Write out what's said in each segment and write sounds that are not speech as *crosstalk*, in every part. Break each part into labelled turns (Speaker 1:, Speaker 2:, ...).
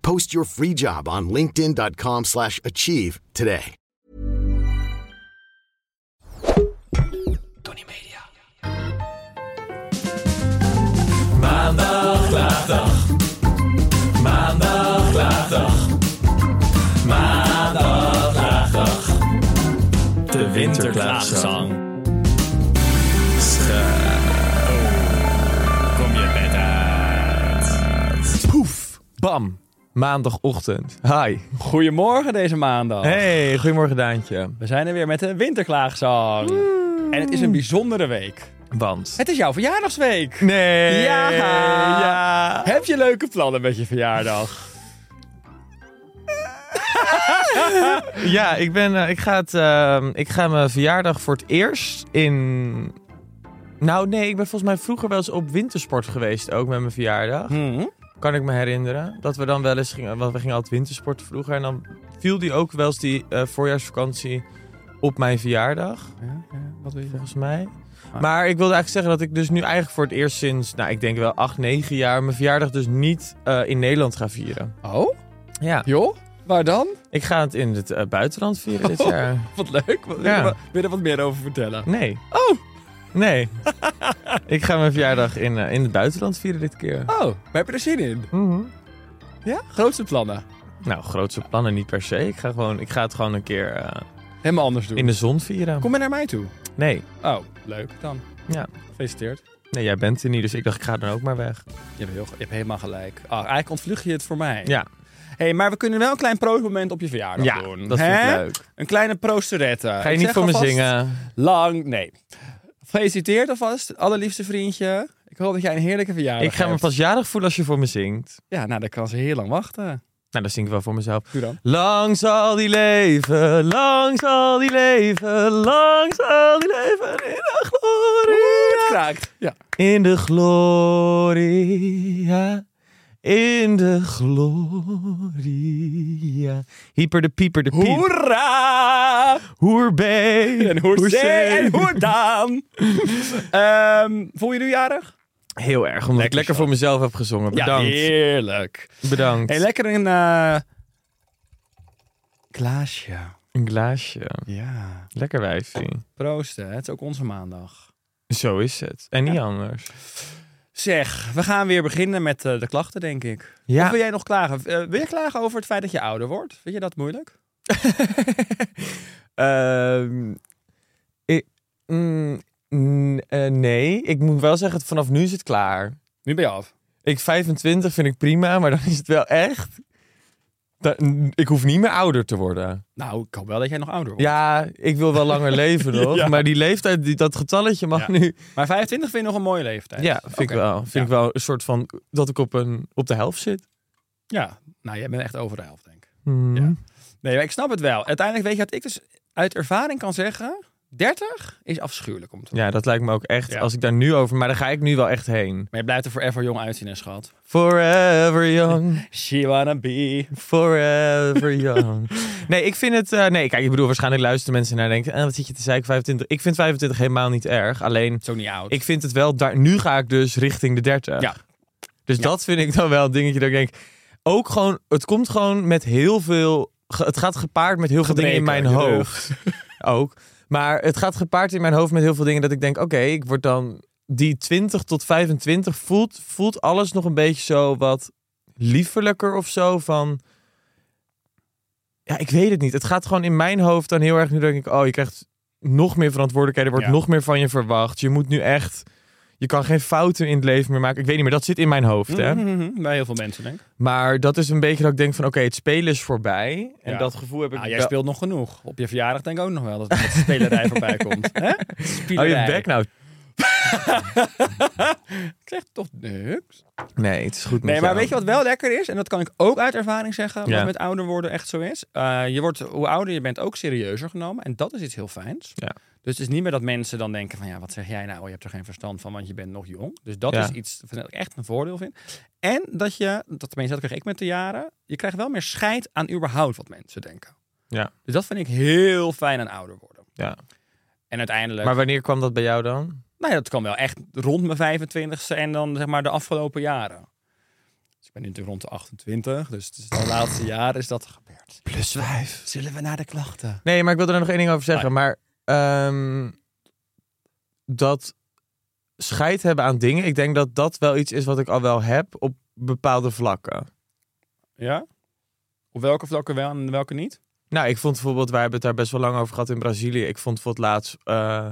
Speaker 1: Post your free job on linkedin.com slash achieve today.
Speaker 2: Tony Media. Maandag, laatdag. Maandag, laatdag. Maandag, laatdag. De winterklaagzang. Kom je bed uit. Poef.
Speaker 3: Bam, maandagochtend. Hi.
Speaker 2: Goedemorgen deze maandag.
Speaker 3: Hey, goedemorgen Daantje.
Speaker 2: We zijn er weer met de winterklaagzang. En het is een bijzondere week.
Speaker 3: Want?
Speaker 2: Het is jouw verjaardagsweek.
Speaker 3: Nee.
Speaker 2: Ja.
Speaker 3: Ja.
Speaker 2: Heb je leuke plannen met je verjaardag?
Speaker 3: Ja, ik, ben, eh, ik, ga het, ehm, ik ga mijn verjaardag voor het eerst in... Nou nee, ik ben volgens mij vroeger wel eens op wintersport geweest, ook met mijn verjaardag. Kan ik me herinneren. Dat we dan wel eens gingen, want we gingen altijd wintersport vroeger. En dan viel die ook wel eens die eh, voorjaarsvakantie op mijn verjaardag.
Speaker 2: Wat wil je
Speaker 3: volgens mij. Maar ik wilde eigenlijk zeggen dat ik dus nu eigenlijk voor het eerst sinds, nou ik denk wel 8, 9 jaar, mijn verjaardag dus niet eh, in Nederland ga vieren.
Speaker 2: Oh?
Speaker 3: Ja.
Speaker 2: Joh? Waar dan?
Speaker 3: Ik ga het in het eh, buitenland vieren dit jaar.
Speaker 2: Wat leuk. Wat,
Speaker 3: Ja.
Speaker 2: Wil je er wat meer over vertellen?
Speaker 3: Nee. Oh! *laughs* Nee. ik ga mijn verjaardag in, eh, in het buitenland vieren dit keer.
Speaker 2: Oh, maar heb je er zin in?
Speaker 3: Mhm.
Speaker 2: Ja? Grootste plannen.
Speaker 3: Nou, grootste plannen niet per se. Ik ga, gewoon, ik ga het gewoon een keer eh,
Speaker 2: Helemaal anders doen.
Speaker 3: in de zon vieren.
Speaker 2: Kom maar naar mij toe.
Speaker 3: Nee.
Speaker 2: Oh, leuk dan.
Speaker 3: Ja.
Speaker 2: Gefeliciteerd.
Speaker 3: Nee, jij bent er niet, dus ik dacht ik ga dan ook maar weg.
Speaker 2: Je hebt, heel, je hebt helemaal gelijk. Ah, eigenlijk ontvlug je het voor mij.
Speaker 3: Ja.
Speaker 2: Hey, maar we kunnen wel een klein proostmoment op je verjaardag
Speaker 3: Ja,
Speaker 2: doen.
Speaker 3: dat vind ik
Speaker 2: Hè?
Speaker 3: leuk.
Speaker 2: Een kleine proosterette.
Speaker 3: Ga je niet voor me zingen?
Speaker 2: Lang, nee. Gefeliciteerd alvast, allerliefste vriendje. Ik hoop dat jij een heerlijke verjaardag
Speaker 3: Ik ga me
Speaker 2: hebt.
Speaker 3: pas jarig voelen als je voor me zingt.
Speaker 2: Ja, nou, dan kan ze heel lang wachten.
Speaker 3: Nou, dat zing ik wel voor mezelf.
Speaker 2: Doe dan.
Speaker 3: Lang zal die leven, lang zal die leven, lang zal die leven in de
Speaker 2: Het
Speaker 3: gloria.
Speaker 2: kraakt. Ja.
Speaker 3: In de gloria, in de gloria. Hyper de pieper de piep,
Speaker 2: Hoera!
Speaker 3: hoerbee.
Speaker 2: En hoezee en hoerdaan.
Speaker 3: *laughs*
Speaker 2: Ehm voel je nu jarig?
Speaker 3: Heel erg, omdat ik
Speaker 2: Lekker
Speaker 3: lekker
Speaker 2: zo.
Speaker 3: voor mezelf heb gezongen.
Speaker 2: Ja,
Speaker 3: Bedankt,
Speaker 2: heerlijk.
Speaker 3: bedankt.
Speaker 2: Hey, lekker een... eh glaasje.
Speaker 3: Een glaasje.
Speaker 2: Ja.
Speaker 3: Lekker wijfie.
Speaker 2: Proost, hè. Het is ook onze maandag.
Speaker 3: Zo is het. En niet anders.
Speaker 2: Zeg, we gaan weer beginnen met eh, de klachten, denk ik.
Speaker 3: Ja.
Speaker 2: Of wil jij nog klagen? Eh, wil je klagen over het feit dat je ouder wordt? Vind je dat moeilijk?
Speaker 3: Ehm, ik- mm, n- eh, nee, ik moet wel zeggen, vanaf nu is het klaar.
Speaker 2: Nu ben je af.
Speaker 3: Ik 25 vind ik prima, maar dan is het wel echt. da- n- ik hoef niet meer ouder te worden.
Speaker 2: Nou, ik hoop wel dat jij nog ouder wordt.
Speaker 3: Ja, ik wil wel langer
Speaker 2: *laughs*
Speaker 3: leven nog.
Speaker 2: Ja.
Speaker 3: Maar die leeftijd, die, dat getalletje mag
Speaker 2: Ja.
Speaker 3: nu.
Speaker 2: Maar 25 vind je nog een mooie leeftijd.
Speaker 3: Ja, vind, ik,
Speaker 2: Oké.
Speaker 3: wel. vind
Speaker 2: Ja.
Speaker 3: ik wel een soort van dat ik op, een, op de helft zit.
Speaker 2: Ja, nou, jij bent echt over de helft, denk ik.
Speaker 3: Hmm.
Speaker 2: Ja. Nee, maar ik snap het wel. Uiteindelijk weet je wat ik dus uit ervaring kan zeggen. 30 is afschuwelijk om te
Speaker 3: Ja, dat lijkt me ook echt.
Speaker 2: Ja.
Speaker 3: Als ik daar nu over. Maar daar ga ik nu wel echt heen.
Speaker 2: Maar je blijft er forever jong uitzien, hè, schat.
Speaker 3: Forever young.
Speaker 2: She wanna be.
Speaker 3: Forever young. nee, ik vind het... eh, nee, kijk, ik bedoel, waarschijnlijk luisteren mensen naar en denken... eh, wat zit je te zeiken, 25? Ik vind 25 helemaal niet erg. Alleen,
Speaker 2: Zo niet oud.
Speaker 3: ik vind het wel... Daar, nu ga ik dus richting de 30.
Speaker 2: Ja.
Speaker 3: Dus
Speaker 2: Ja.
Speaker 3: dat vind ik dan wel een dingetje dat ik denk... Ook gewoon... Het komt gewoon met heel veel... ge- Het gaat gepaard met heel veel dingen in mijn
Speaker 2: Gebreken, je
Speaker 3: hoofd. *laughs* Ook. Maar het gaat gepaard in mijn hoofd met heel veel dingen dat ik denk... Oké, ik word dan... Die 20 tot 25 voelt, voelt alles nog een beetje zo wat liefelijker of zo. Van Ja, ik weet het niet. Het gaat gewoon in mijn hoofd dan heel erg nu denk ik, oh, je krijgt nog meer verantwoordelijkheden, er wordt
Speaker 2: Ja.
Speaker 3: nog meer van je verwacht. Je moet nu echt, je kan geen fouten in het leven meer maken. Ik weet niet meer, dat zit in mijn hoofd, hè.
Speaker 2: Mhm, Bij heel veel mensen, denk ik.
Speaker 3: Maar dat is een beetje dat ik denk van, oké, het spelen is voorbij. En
Speaker 2: Ja.
Speaker 3: dat gevoel heb ik
Speaker 2: Ah, jij
Speaker 3: wel-
Speaker 2: speelt nog genoeg. Op je verjaardag denk ik ook nog wel dat er wat spelerij voorbij komt. Hè?
Speaker 3: Hou Oh, je
Speaker 2: Spielerij.
Speaker 3: bek nou.
Speaker 2: Ik zeg toch niks.
Speaker 3: Nee, het is goed met
Speaker 2: Nee, maar
Speaker 3: jou.
Speaker 2: weet je wat wel lekker is? En dat kan ik ook uit ervaring zeggen, wat
Speaker 3: Ja.
Speaker 2: met ouder worden echt zo is. Eh, je wordt, hoe ouder je bent, ook serieuzer genomen. En dat is iets heel fijns.
Speaker 3: Ja.
Speaker 2: Dus het is niet meer dat mensen dan denken van, ja, wat zeg jij nou? Je hebt er geen verstand van, want je bent nog jong. Dus dat
Speaker 3: Ja.
Speaker 2: is iets wat ik echt een voordeel vind. En dat je, dat tenminste, dat kreeg ik met de jaren, je krijgt wel meer scheid aan überhaupt wat mensen denken.
Speaker 3: Ja.
Speaker 2: Dus dat vind ik heel fijn aan ouder worden.
Speaker 3: Ja.
Speaker 2: En uiteindelijk...
Speaker 3: Maar wanneer kwam dat bij jou dan?
Speaker 2: Nou ja, dat kan wel echt rond mijn 25ste en dan zeg maar de afgelopen jaren. Dus ik ben nu natuurlijk rond de 28, dus het is de laatste jaar is dat gebeurd.
Speaker 3: Plus vijf.
Speaker 2: Zullen we naar de klachten?
Speaker 3: Nee, maar ik wil er nog één ding over
Speaker 2: Ah.
Speaker 3: zeggen. Maar ehm, dat scheid hebben aan dingen, ik denk dat dat wel iets is wat ik al wel heb op bepaalde vlakken.
Speaker 2: Ja? Op welke vlakken wel en welke niet?
Speaker 3: Nou, ik vond bijvoorbeeld, wij hebben het daar best wel lang over gehad in Brazilië. Ik vond bijvoorbeeld laatst eh,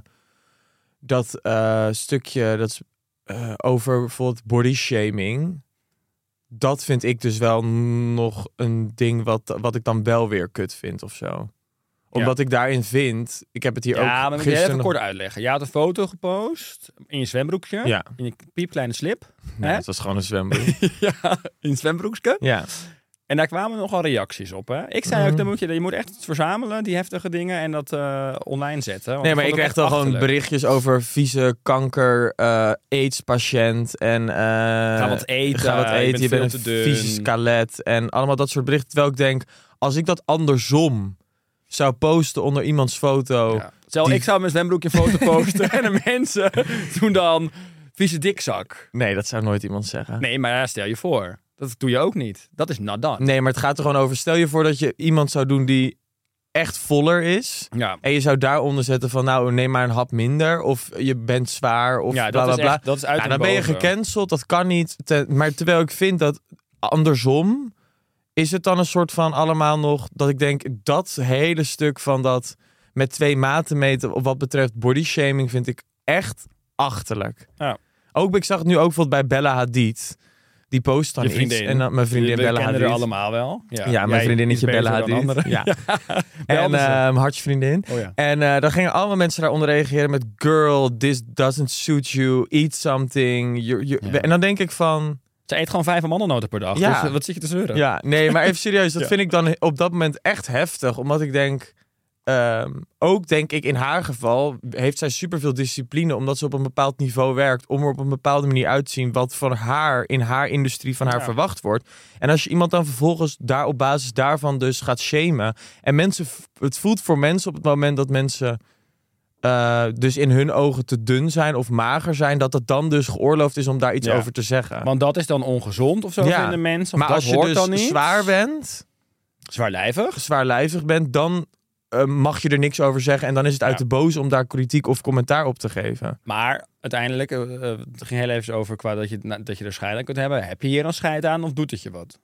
Speaker 3: dat eh, stukje dat, is, eh, over bijvoorbeeld body shaming. Dat vind ik dus wel nog een ding wat, wat ik dan wel weer kut vind of zo. Omdat ik daarin vind, ik heb het hier
Speaker 2: ja,
Speaker 3: ook
Speaker 2: maar ik wil je
Speaker 3: gisteren
Speaker 2: even
Speaker 3: nog-
Speaker 2: kort uitleggen. Je had een foto gepost in je zwembroekje,
Speaker 3: Ja.
Speaker 2: in je piepkleine slip.
Speaker 3: Nee,
Speaker 2: Hè?
Speaker 3: het was gewoon een
Speaker 2: *laughs*
Speaker 3: zwembroek.
Speaker 2: ja, in een zwembroekje.
Speaker 3: ja.
Speaker 2: En daar kwamen nogal reacties op. Hè? Ik zei ook,
Speaker 3: Mhm.
Speaker 2: dan moet je, je moet echt iets verzamelen, die heftige dingen, en dat eh, online zetten. want
Speaker 3: Nee,
Speaker 2: dat
Speaker 3: maar
Speaker 2: vond
Speaker 3: ik kreeg
Speaker 2: echt
Speaker 3: dan gewoon
Speaker 2: achterlijk.
Speaker 3: berichtjes over vieze kanker, eh AIDS-patiënt en... eh,
Speaker 2: Ga wat eten,
Speaker 3: ga wat eten, je bent,
Speaker 2: veel te
Speaker 3: een
Speaker 2: dun.
Speaker 3: vieze skelet en allemaal dat soort berichten. Terwijl ik denk, als ik dat andersom zou posten onder iemands foto...
Speaker 2: Ja. Oh. Stel,
Speaker 3: Die-
Speaker 2: ik zou mijn zwembroekje een foto posten *laughs* en de mensen doen dan vieze dikzak.
Speaker 3: Nee, dat zou nooit iemand zeggen.
Speaker 2: Nee, maar ja, stel je voor. Dat doe je ook niet. Dat is not done.
Speaker 3: Nee, maar het gaat er gewoon over... Stel je voor dat je iemand zou doen die echt voller is...
Speaker 2: Ja,
Speaker 3: En je zou daaronder zetten van, nou, neem maar een hap minder. Of je bent zwaar, of
Speaker 2: ja
Speaker 3: bla,
Speaker 2: dat,
Speaker 3: bla,
Speaker 2: is
Speaker 3: bla.
Speaker 2: echt, dat is uit
Speaker 3: Ja,
Speaker 2: en
Speaker 3: dan ben je
Speaker 2: boven.
Speaker 3: gecanceld, dat kan niet. Te- maar terwijl ik vind dat andersom, is het dan een soort van allemaal nog dat ik denk dat hele stuk van dat met twee maten meten op wat betreft body shaming vind ik echt achterlijk.
Speaker 2: Ja.
Speaker 3: Ook ik zag het nu ook bijvoorbeeld bij Bella Hadid. Die post dan
Speaker 2: Je
Speaker 3: iets
Speaker 2: vriendin.
Speaker 3: en dan mijn vriendin
Speaker 2: We
Speaker 3: Bella
Speaker 2: kennen
Speaker 3: Hadid.
Speaker 2: er allemaal wel. Ja,
Speaker 3: Ja, mijn
Speaker 2: Jij
Speaker 3: vriendinnetje
Speaker 2: iets beter
Speaker 3: Bella
Speaker 2: dan
Speaker 3: Hadid.
Speaker 2: anderen.
Speaker 3: Ja.
Speaker 2: Bel
Speaker 3: En
Speaker 2: me ze.
Speaker 3: ehm hartsvriendin.
Speaker 2: *laughs* Oh ja.
Speaker 3: En eh dan gingen allemaal mensen daaronder reageren met... Girl, this doesn't suit you. Eat something. You, you-
Speaker 2: Ja.
Speaker 3: En dan denk ik van...
Speaker 2: Ze eet gewoon vijf amandelnoten per dag.
Speaker 3: Ja.
Speaker 2: Dus eh, wat zit je te zeuren?
Speaker 3: Ja, nee, maar even serieus. Dat
Speaker 2: *laughs* Ja.
Speaker 3: vind ik dan op dat moment echt heftig. Omdat ik denk... ehm, ook denk ik in haar geval heeft zij superveel discipline omdat ze op een bepaald niveau werkt om er op een bepaalde manier uit te zien wat van haar in haar industrie van haar
Speaker 2: Ja.
Speaker 3: verwacht wordt. En als je iemand dan vervolgens daar op basis daarvan dus gaat shamen en mensen, v- het voelt voor mensen op het moment dat mensen eh, dus in hun ogen te dun zijn of mager zijn, dat het dan dus geoorloofd is om daar iets
Speaker 2: Ja.
Speaker 3: over te zeggen.
Speaker 2: Want dat is dan ongezond of zo
Speaker 3: Ja.
Speaker 2: vinden mensen. Of
Speaker 3: maar
Speaker 2: dat
Speaker 3: als je
Speaker 2: hoort
Speaker 3: dus
Speaker 2: dan niet.
Speaker 3: zwaar bent,
Speaker 2: Zwaarlijvig.
Speaker 3: zwaarlijvig bent, dan eh, mag je er niks over zeggen. En dan is het uit
Speaker 2: Ja.
Speaker 3: de boze om daar kritiek of commentaar op te geven.
Speaker 2: Maar uiteindelijk, eh, eh, het ging heel even over qua dat je, nou, dat je er scheid aan kunt hebben. Heb je hier dan scheid aan of doet het je wat?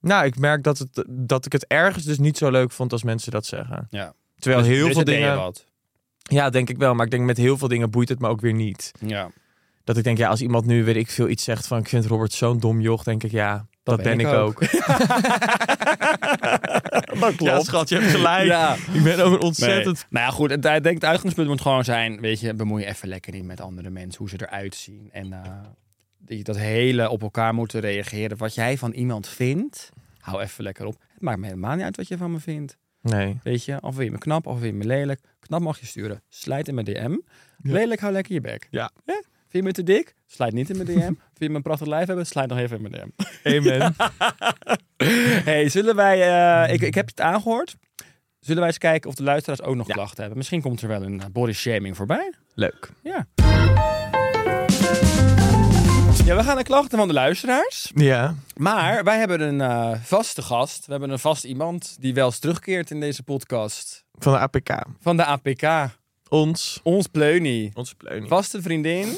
Speaker 3: Nou, ik merk dat, het, dat ik het ergens dus niet zo leuk vond als mensen dat zeggen.
Speaker 2: Ja.
Speaker 3: Terwijl
Speaker 2: Dus-
Speaker 3: heel
Speaker 2: dus
Speaker 3: veel
Speaker 2: het deed je
Speaker 3: dingen.
Speaker 2: wat.
Speaker 3: Ja, denk ik wel. Maar ik denk met heel veel dingen boeit het me ook weer niet.
Speaker 2: Ja.
Speaker 3: Dat ik denk, ja, als iemand nu weet ik veel iets zegt van ik vind Robert zo'n dom joch, denk ik ja. Dat, ben, ik ook.
Speaker 2: *laughs* dat klopt.
Speaker 3: Ja, schat, je hebt gelijk.
Speaker 2: Ja.
Speaker 3: Ik ben ook een
Speaker 2: Nee.
Speaker 3: ontzettend...
Speaker 2: Nou ja, goed. Het, ik denk het uitgangspunt moet gewoon zijn, weet je, bemoei je even lekker niet met andere mensen, hoe ze eruit zien. En eh, dat je dat hele op elkaar moeten reageren. Wat jij van iemand vindt, hou even lekker op. Het maakt me helemaal niet uit wat je van me vindt.
Speaker 3: Nee.
Speaker 2: Weet je, of wil je me knap, of wil je me lelijk. Knap mag je sturen, slijt in mijn DM.
Speaker 3: Ja.
Speaker 2: Lelijk, hou lekker je bek.
Speaker 3: Ja.
Speaker 2: Hè? Vind je me te dik? Slijt niet in mijn DM. Vind je me een prachtig lijf hebben? Slijt nog even in mijn DM.
Speaker 3: Amen.
Speaker 2: *laughs* Hey, zullen wij... eh, ik, ik heb het aangehoord. Zullen wij eens kijken of de luisteraars ook nog klachten hebben? Misschien komt er wel een eh, body shaming voorbij.
Speaker 3: Leuk.
Speaker 2: Ja. Ja, we gaan naar klachten van de luisteraars.
Speaker 3: Ja.
Speaker 2: Maar wij hebben een eh, vaste gast. We hebben een vast iemand die wel eens terugkeert in deze podcast.
Speaker 3: Van de APK.
Speaker 2: Van de APK.
Speaker 3: Ons.
Speaker 2: Ons Pleunie.
Speaker 3: Onze pleuning.
Speaker 2: Vaste vriendin.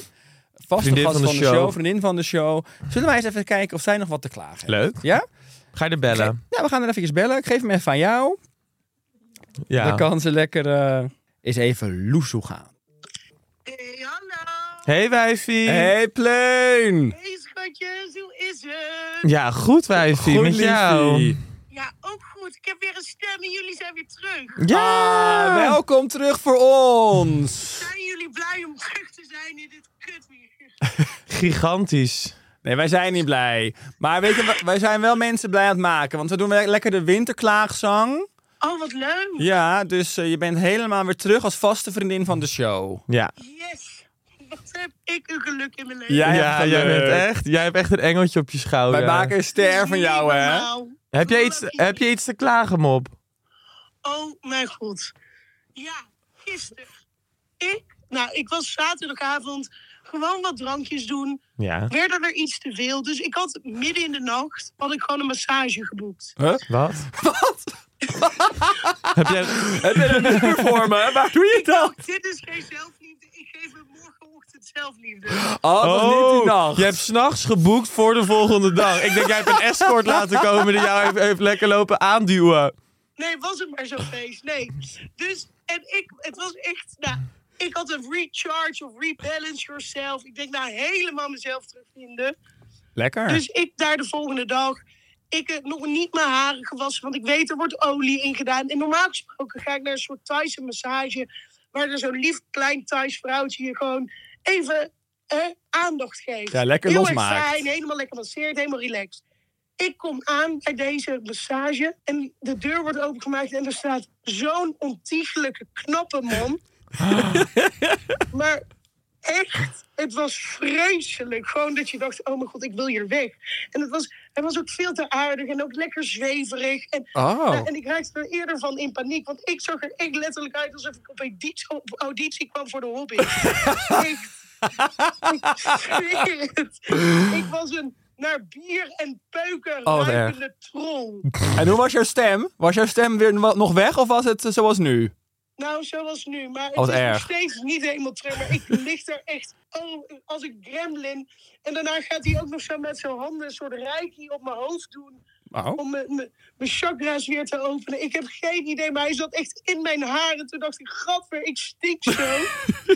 Speaker 2: Vaste
Speaker 3: Vriendin
Speaker 2: gast
Speaker 3: van de show.
Speaker 2: Vriendin van de show. Zullen wij eens even kijken of zij nog wat te klagen heeft?
Speaker 3: Leuk.
Speaker 2: Ja?
Speaker 3: Ga je er bellen?
Speaker 2: Nou, we gaan er even bellen. Ik geef hem even aan jou.
Speaker 3: Ja.
Speaker 2: Dan kan ze lekker eh eens even loesoe gaan.
Speaker 4: Hey, hallo.
Speaker 3: Hey wijfie.
Speaker 2: Pleun!
Speaker 4: Hey, schatjes, hoe is het?
Speaker 3: Ja, goed wijfie. met jou.
Speaker 4: Ja, ook goed. Ik heb weer een stem en jullie zijn weer terug.
Speaker 3: Ja.
Speaker 2: Ah, welkom terug voor ons!
Speaker 4: Zijn jullie blij om terug te zijn in dit kutweer?
Speaker 3: Gigantisch.
Speaker 2: Nee, wij zijn niet blij. Maar weet je, wij zijn wel mensen blij aan het maken. Want we doen le- lekker de winterklaagzang.
Speaker 4: Oh, wat leuk.
Speaker 2: Ja, dus eh, je bent helemaal weer terug als vaste vriendin van de show.
Speaker 3: Ja.
Speaker 4: Yes. Wat heb ik een geluk in mijn leven.
Speaker 2: Ja,
Speaker 3: Ja,
Speaker 2: ja,
Speaker 3: jij,
Speaker 2: geluk.
Speaker 3: bent echt, jij hebt echt een engeltje op je schouder.
Speaker 2: Wij maken een ster van jou,
Speaker 4: Niet
Speaker 2: hè?
Speaker 4: normaal.
Speaker 3: heb, jij iets, heb je iets te klagen, Mop?
Speaker 4: Oh, mijn god. Ja, gisteren. Ik, nou, ik was zaterdagavond gewoon wat drankjes doen.
Speaker 3: Ja.
Speaker 4: Werden er iets te veel. Dus ik had midden in de nacht had ik gewoon een massage geboekt.
Speaker 3: Wat? Wat? *laughs* heb jij...
Speaker 2: Heb je een nummer *laughs* voor me? Waar doe je dat?
Speaker 4: *laughs* Dit is geen zelfliefde. Ik geef hem morgenochtend zelfliefde.
Speaker 2: Oh, dat was niet die nacht.
Speaker 3: je hebt s'nachts geboekt voor de volgende dag. Ik denk, jij hebt een escort laten komen die jou heeft, heeft lekker lopen aanduwen.
Speaker 4: Nee, was het maar zo'n feest. Nee. Dus, en ik, het was echt, nou, ik had een recharge of rebalance yourself. Ik denk, nou, helemaal mezelf terugvinden.
Speaker 2: Lekker.
Speaker 4: Dus ik daar de volgende dag, ik heb nog niet mijn haren gewassen, want ik weet er wordt olie in gedaan. En normaal gesproken ga ik naar een soort Thaise massage, waar er zo'n lief klein Thais vrouwtje je gewoon even eh, aandacht geeft.
Speaker 2: Ja, lekker
Speaker 4: Heel
Speaker 2: losmaakt.
Speaker 4: erg fijn, helemaal lekker masseerd, helemaal relaxed. Ik kom aan bij deze massage en de deur wordt opengemaakt en er staat zo'n ontiegelijke knappe
Speaker 2: *laughs*
Speaker 4: man. maar echt, het was vreselijk. Gewoon dat je dacht, oh mijn god, ik wil hier weg. En het was, hij was ook veel te aardig en ook lekker zweverig. En,
Speaker 2: Oh.
Speaker 4: nou, en ik raakte er eerder van in paniek, want ik zag er echt letterlijk uit alsof ik op auditie, op auditie kwam voor de
Speaker 2: *laughs*
Speaker 4: hobby. ik was een naar bier en peuken
Speaker 2: Oh, wat
Speaker 4: ruikende troll.
Speaker 2: En hoe was jouw stem? Was jouw stem weer no- nog weg of was het eh, zoals nu?
Speaker 4: Nou, zoals nu. Maar het
Speaker 2: Oh, Wat
Speaker 4: is
Speaker 2: erg.
Speaker 4: nog steeds niet helemaal terug. Maar ik lig daar echt oh, als een gremlin. En daarna gaat hij ook nog zo met zijn handen een soort reiki op mijn hoofd doen.
Speaker 2: Oh.
Speaker 4: Om mijn- mijn mijn chakra's weer te openen. Ik heb geen idee, maar hij zat echt in mijn haren. Toen dacht ik, gadver, ik stik zo.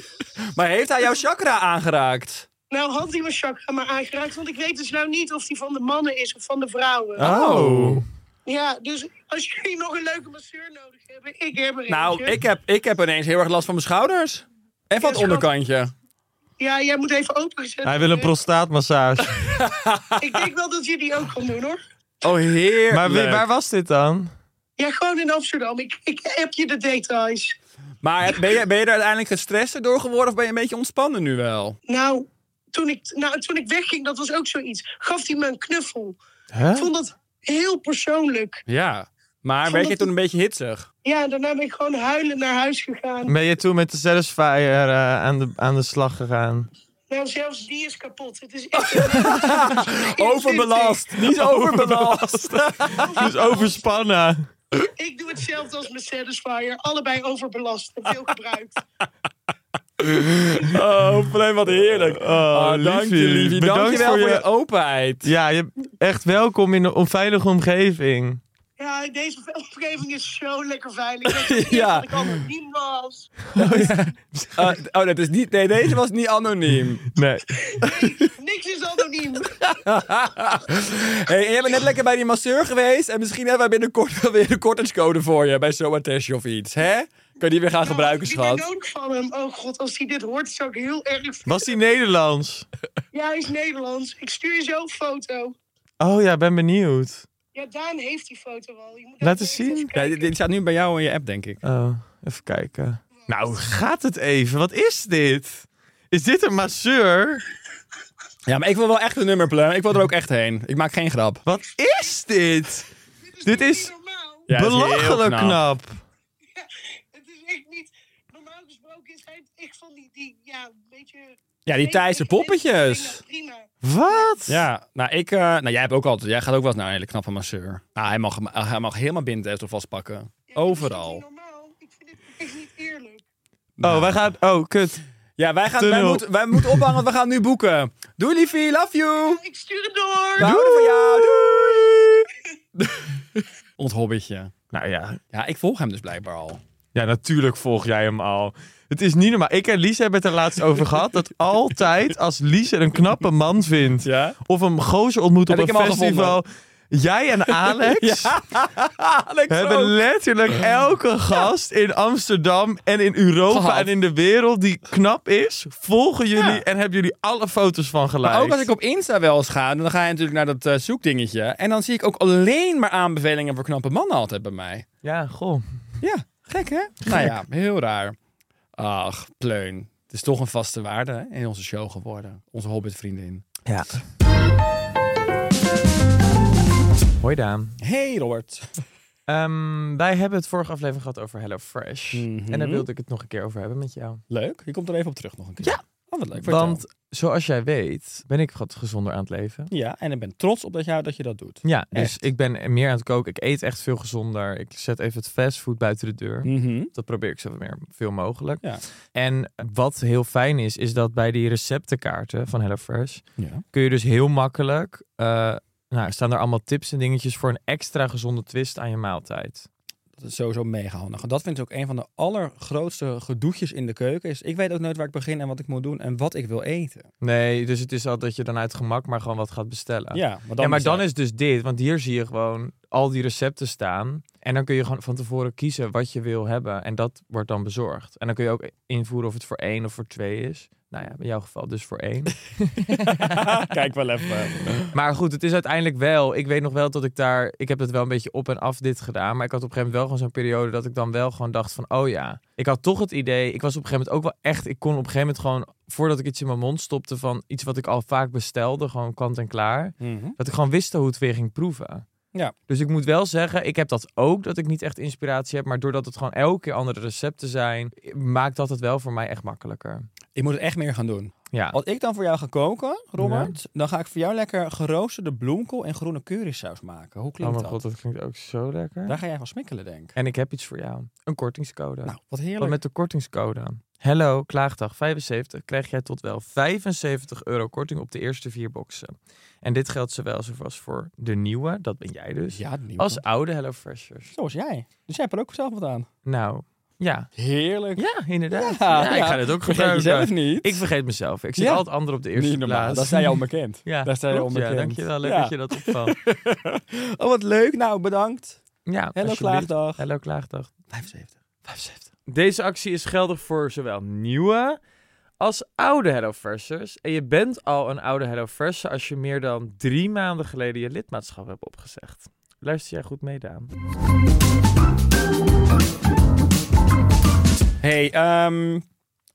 Speaker 2: *laughs* Maar heeft hij jouw chakra aangeraakt?
Speaker 4: nou had hij mijn chakra maar aangeraakt. Want ik weet dus nou niet of die van de mannen is of van de vrouwen.
Speaker 2: Oh.
Speaker 4: Ja, dus als jullie nog een leuke masseur nodig hebben, ik heb er
Speaker 2: Nou,
Speaker 4: eentje.
Speaker 2: ik heb, ik heb ineens heel erg last van mijn schouders. En van het
Speaker 4: Ja, schat.
Speaker 2: onderkantje.
Speaker 4: Ja, jij moet even opengezet
Speaker 3: Hij wil een
Speaker 4: worden.
Speaker 3: prostaatmassage. *laughs*
Speaker 4: Ik denk wel dat je die ook kan doen, hoor.
Speaker 2: Oh, heerlijk.
Speaker 3: Maar wie- waar was dit dan?
Speaker 4: Ja, gewoon in Amsterdam. Ik, ik heb je de details.
Speaker 2: Maar ben je, ben je er uiteindelijk gestrest door geworden of ben je een beetje ontspannen nu wel?
Speaker 4: Nou toen, ik, nou, toen ik wegging, dat was ook zoiets. Gaf hij me een knuffel. Ik
Speaker 3: Huh?
Speaker 4: vond dat heel persoonlijk.
Speaker 2: Ja. Maar werd
Speaker 4: Omdat-
Speaker 2: je toen een beetje hitsig?
Speaker 4: Ja, daarna ben ik gewoon huilend naar huis gegaan.
Speaker 3: Ben je toen met de Satisfyer eh, aan, de, aan de slag *laughs* gegaan?
Speaker 4: Nou, zelfs die is kapot. Het is
Speaker 3: *laughs*
Speaker 4: echt...
Speaker 2: Overbelast. Niet overbelast.
Speaker 3: Dus overspannen.
Speaker 4: Ik doe hetzelfde als mijn Satisfyer. Allebei overbelast en veel gebruikt.
Speaker 3: *laughs*
Speaker 2: Oh, Flem, wat heerlijk. Oh, dank je,
Speaker 3: liefie.
Speaker 2: liefie.
Speaker 3: Bedankt
Speaker 2: Dank je wel
Speaker 3: voor
Speaker 2: voor,
Speaker 3: je-
Speaker 2: je openheid.
Speaker 3: Ja, je echt welkom in een onveilige omgeving.
Speaker 4: Ja, deze omgeving is zo lekker
Speaker 3: *laughs*
Speaker 4: veilig. Dat,
Speaker 2: Ja.
Speaker 4: ja. dat ik anoniem was.
Speaker 2: Eh, d- oh, dat is niet... Nee, deze was niet anoniem.
Speaker 3: Nee.
Speaker 4: Niks is
Speaker 3: *laughs*
Speaker 4: anoniem.
Speaker 2: hey, en jij bent net lekker bij die masseur geweest. En misschien hebben wij binnenkort wel weer een kortingscode voor je. Bij Zoatesh of iets, hè? Kan die weer gaan gebruiken,
Speaker 4: Ik ben
Speaker 2: schat.
Speaker 4: ook van hem. Oh god, als hij dit hoort, zou ik heel erg...
Speaker 3: Was die Nederlands?
Speaker 4: Ja, hij is Nederlands. Ik stuur je zo een foto.
Speaker 3: Oh ja, ben benieuwd.
Speaker 4: Ja, Daan heeft die foto al. Je moet
Speaker 3: Laat
Speaker 4: even
Speaker 3: eens zien.
Speaker 4: even kijken.
Speaker 2: Ja, dit, dit staat nu bij jou in je app, denk ik.
Speaker 3: Oh, even kijken. Nou, gaat het even? Wat is dit? Is dit een masseur?
Speaker 2: Ja, maar ik wil wel echt een nummer, Plum. Ik wil er ook echt heen. Ik maak geen grap.
Speaker 3: Wat is dit? Dit
Speaker 4: niet
Speaker 3: is
Speaker 4: normaal.
Speaker 2: Ja, dat is heel
Speaker 3: belachelijk knap.
Speaker 4: Het is echt niet... Normaal gesproken is hij echt van die... die ja, een beetje...
Speaker 2: Ja, die Thaise poppetjes.
Speaker 4: Ja, prima.
Speaker 3: Wat?
Speaker 2: Ja, nou, ik, eh, nou jij hebt ook altijd, jij gaat ook wel eens naar een hele knappe masseur. Nou, hij mag, hij mag helemaal bindtest of vastpakken.
Speaker 4: Ja,
Speaker 2: Overal.
Speaker 4: dit is niet normaal. Ik vind het echt niet eerlijk.
Speaker 3: Oh, wij gaan. Oh, kut.
Speaker 2: Ja, wij, gaan, wij,
Speaker 3: Tunnel.
Speaker 2: moeten wij moeten ophangen, want we gaan nu boeken. Doei liefie, love you.
Speaker 4: Ik stuur het door.
Speaker 2: We houden van jou. Doei. Ons hobbytje.
Speaker 3: Nou ja.
Speaker 2: Ja, ik volg hem dus blijkbaar al.
Speaker 3: ja, natuurlijk volg jij hem al. Het is niet normaal. Ik en Lies hebben het er laatst over
Speaker 2: *laughs*
Speaker 3: gehad. Dat altijd als Lies een knappe man vindt.
Speaker 2: Ja?
Speaker 3: Of een gozer ontmoet op
Speaker 2: Heb ik
Speaker 3: een
Speaker 2: hem al
Speaker 3: festival. Jij en
Speaker 2: *laughs*
Speaker 3: Alex
Speaker 2: Alex
Speaker 3: hebben letterlijk elke gast in Amsterdam en in Europa
Speaker 2: Gehad.
Speaker 3: en in de wereld die knap is. Volgen jullie
Speaker 2: Ja.
Speaker 3: en hebben jullie alle foto's van geliked.
Speaker 2: Maar ook als ik op Insta wel eens ga, dan ga je natuurlijk naar dat eh, zoekdingetje. En dan zie ik ook alleen maar aanbevelingen voor knappe mannen altijd bij mij.
Speaker 3: Ja, goh.
Speaker 2: Ja, gek hè? Nou ja, heel raar. Ach, pleun. Het is toch een vaste waarde hè, in onze show geworden. Onze hobbitvriendin.
Speaker 3: Ja. Hoi Daan.
Speaker 2: Hey Robert.
Speaker 3: Ehm, wij hebben het vorige aflevering gehad over HelloFresh.
Speaker 2: Mhm.
Speaker 3: En daar wilde ik het nog een keer over hebben met jou.
Speaker 2: Leuk. Je komt er even op terug nog een keer.
Speaker 3: Ja.
Speaker 2: Oh, wat leuk.
Speaker 3: Want
Speaker 2: Vertel.
Speaker 3: zoals jij weet, ben ik wat gezonder aan het leven.
Speaker 2: Ja, en ik ben trots op dat, jou, dat je dat doet.
Speaker 3: Ja, dus
Speaker 2: Echt?
Speaker 3: ik ben meer aan het koken. Ik eet echt veel gezonder. Ik zet even het fastfood buiten de deur.
Speaker 2: Mhm.
Speaker 3: Dat probeer ik zo meer, veel mogelijk.
Speaker 2: Ja.
Speaker 3: En wat heel fijn is, is dat bij die receptenkaarten van HelloFresh
Speaker 2: ja.
Speaker 3: kun je dus heel makkelijk. eh nou, staan er allemaal tips en dingetjes voor een extra gezonde twist aan je maaltijd.
Speaker 2: Dat is sowieso mega handig. En dat vind ik ook een van de allergrootste gedoetjes in de keuken. Is, ik weet ook nooit waar ik begin en wat ik moet doen en wat ik wil eten.
Speaker 3: Nee, dus het is al dat je dan uit gemak maar gewoon wat gaat bestellen.
Speaker 2: Ja, maar dan,
Speaker 3: ja, maar dan is dus dit, want hier zie je gewoon al die recepten staan. En dan kun je gewoon van tevoren kiezen wat je wil hebben. En dat wordt dan bezorgd. En dan kun je ook invoeren of het voor één of voor twee is. Nou ja, in jouw geval dus voor één.
Speaker 2: *laughs* Kijk wel even.
Speaker 3: Maar goed, het is uiteindelijk wel. Ik weet nog wel dat ik daar. Ik heb het wel een beetje op en af dit gedaan. Maar ik had op een gegeven moment wel gewoon zo'n periode dat ik dan wel gewoon dacht van oh ja. Ik had toch het idee. Ik was op een gegeven moment ook wel echt. Ik kon op een gegeven moment gewoon voordat ik iets in mijn mond stopte van iets wat ik al vaak bestelde, gewoon kant en klaar.
Speaker 2: Mhm.
Speaker 3: Dat ik gewoon wist hoe het weer ging proeven.
Speaker 2: Ja.
Speaker 3: Dus ik moet wel zeggen, ik heb dat ook, dat ik niet echt inspiratie heb. Maar doordat het gewoon elke keer andere recepten zijn, maakt dat het wel voor mij echt makkelijker.
Speaker 2: Ik moet het echt meer gaan doen.
Speaker 3: Ja.
Speaker 2: Als ik dan voor jou ga koken, Robert, dan ga ik voor jou lekker geroosterde bloemkool en groene currysaus maken. Hoe
Speaker 3: Oh
Speaker 2: klinkt
Speaker 3: mijn
Speaker 2: dat?
Speaker 3: god, dat klinkt ook zo lekker.
Speaker 2: Daar ga jij van smikkelen, denk ik.
Speaker 3: En ik heb iets voor jou. Een kortingscode.
Speaker 2: Nou, wat
Speaker 3: Want
Speaker 2: heerlijk.
Speaker 3: met de kortingscode Hello Klaagdag 75 krijg jij tot wel 75 euro korting op de eerste vier boxen. En dit geldt zowel als voor de nieuwe, dat ben jij dus,
Speaker 2: Ja, nieuw.
Speaker 3: als oude Hello Freshers.
Speaker 2: Zoals jij. Dus jij hebt er ook zelf wat aan.
Speaker 3: Nou, ja.
Speaker 2: Heerlijk.
Speaker 3: Ja, inderdaad.
Speaker 2: Ja,
Speaker 3: Ja, ik
Speaker 2: ja.
Speaker 3: ga dit ook
Speaker 2: Vergeet
Speaker 3: gebruiken.
Speaker 2: jezelf niet.
Speaker 3: Ik vergeet mezelf. Ik zit
Speaker 2: Ja.
Speaker 3: altijd anderen op de eerste
Speaker 2: Niet normaal.
Speaker 3: plaats.
Speaker 2: Dat zijn jou onbekend.
Speaker 3: *laughs* Ja,
Speaker 2: Daar sta je
Speaker 3: klopt, ja,
Speaker 2: onbekend.
Speaker 3: dankjewel. Leuk
Speaker 2: Ja.
Speaker 3: dat je dat opvalt.
Speaker 2: Oh, wat leuk. Nou, bedankt.
Speaker 3: Ja,
Speaker 2: Hello
Speaker 3: alsjeblieft.
Speaker 2: Klaagdag.
Speaker 3: Hello Klaagdag.
Speaker 2: 75. 75.
Speaker 3: Deze actie is geldig voor zowel nieuwe als oude HelloFreshers. En je bent al een oude HelloFresher als je meer dan drie maanden geleden je lidmaatschap hebt opgezegd. Luister jij goed mee, Daan?
Speaker 2: Hey, ehm,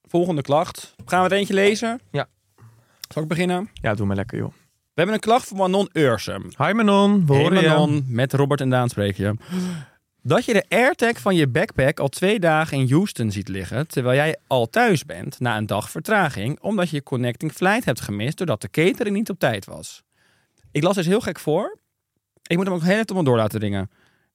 Speaker 2: volgende klacht. Gaan we het eentje lezen?
Speaker 3: Ja.
Speaker 2: Zal ik beginnen?
Speaker 3: Ja, doe maar lekker, joh.
Speaker 2: We hebben een klacht van Manon Ursum.
Speaker 3: Hi Manon, we
Speaker 2: Hey
Speaker 3: horen je.
Speaker 2: Manon, met Robert en Daan spreek je. Dat je de AirTag van je backpack al twee dagen in Houston ziet liggen... terwijl jij al thuis bent na een dag vertraging... omdat je je connecting flight hebt gemist... doordat de catering niet op tijd was. Ik las dus heel gek voor. Ik moet hem ook heel even door laten dingen.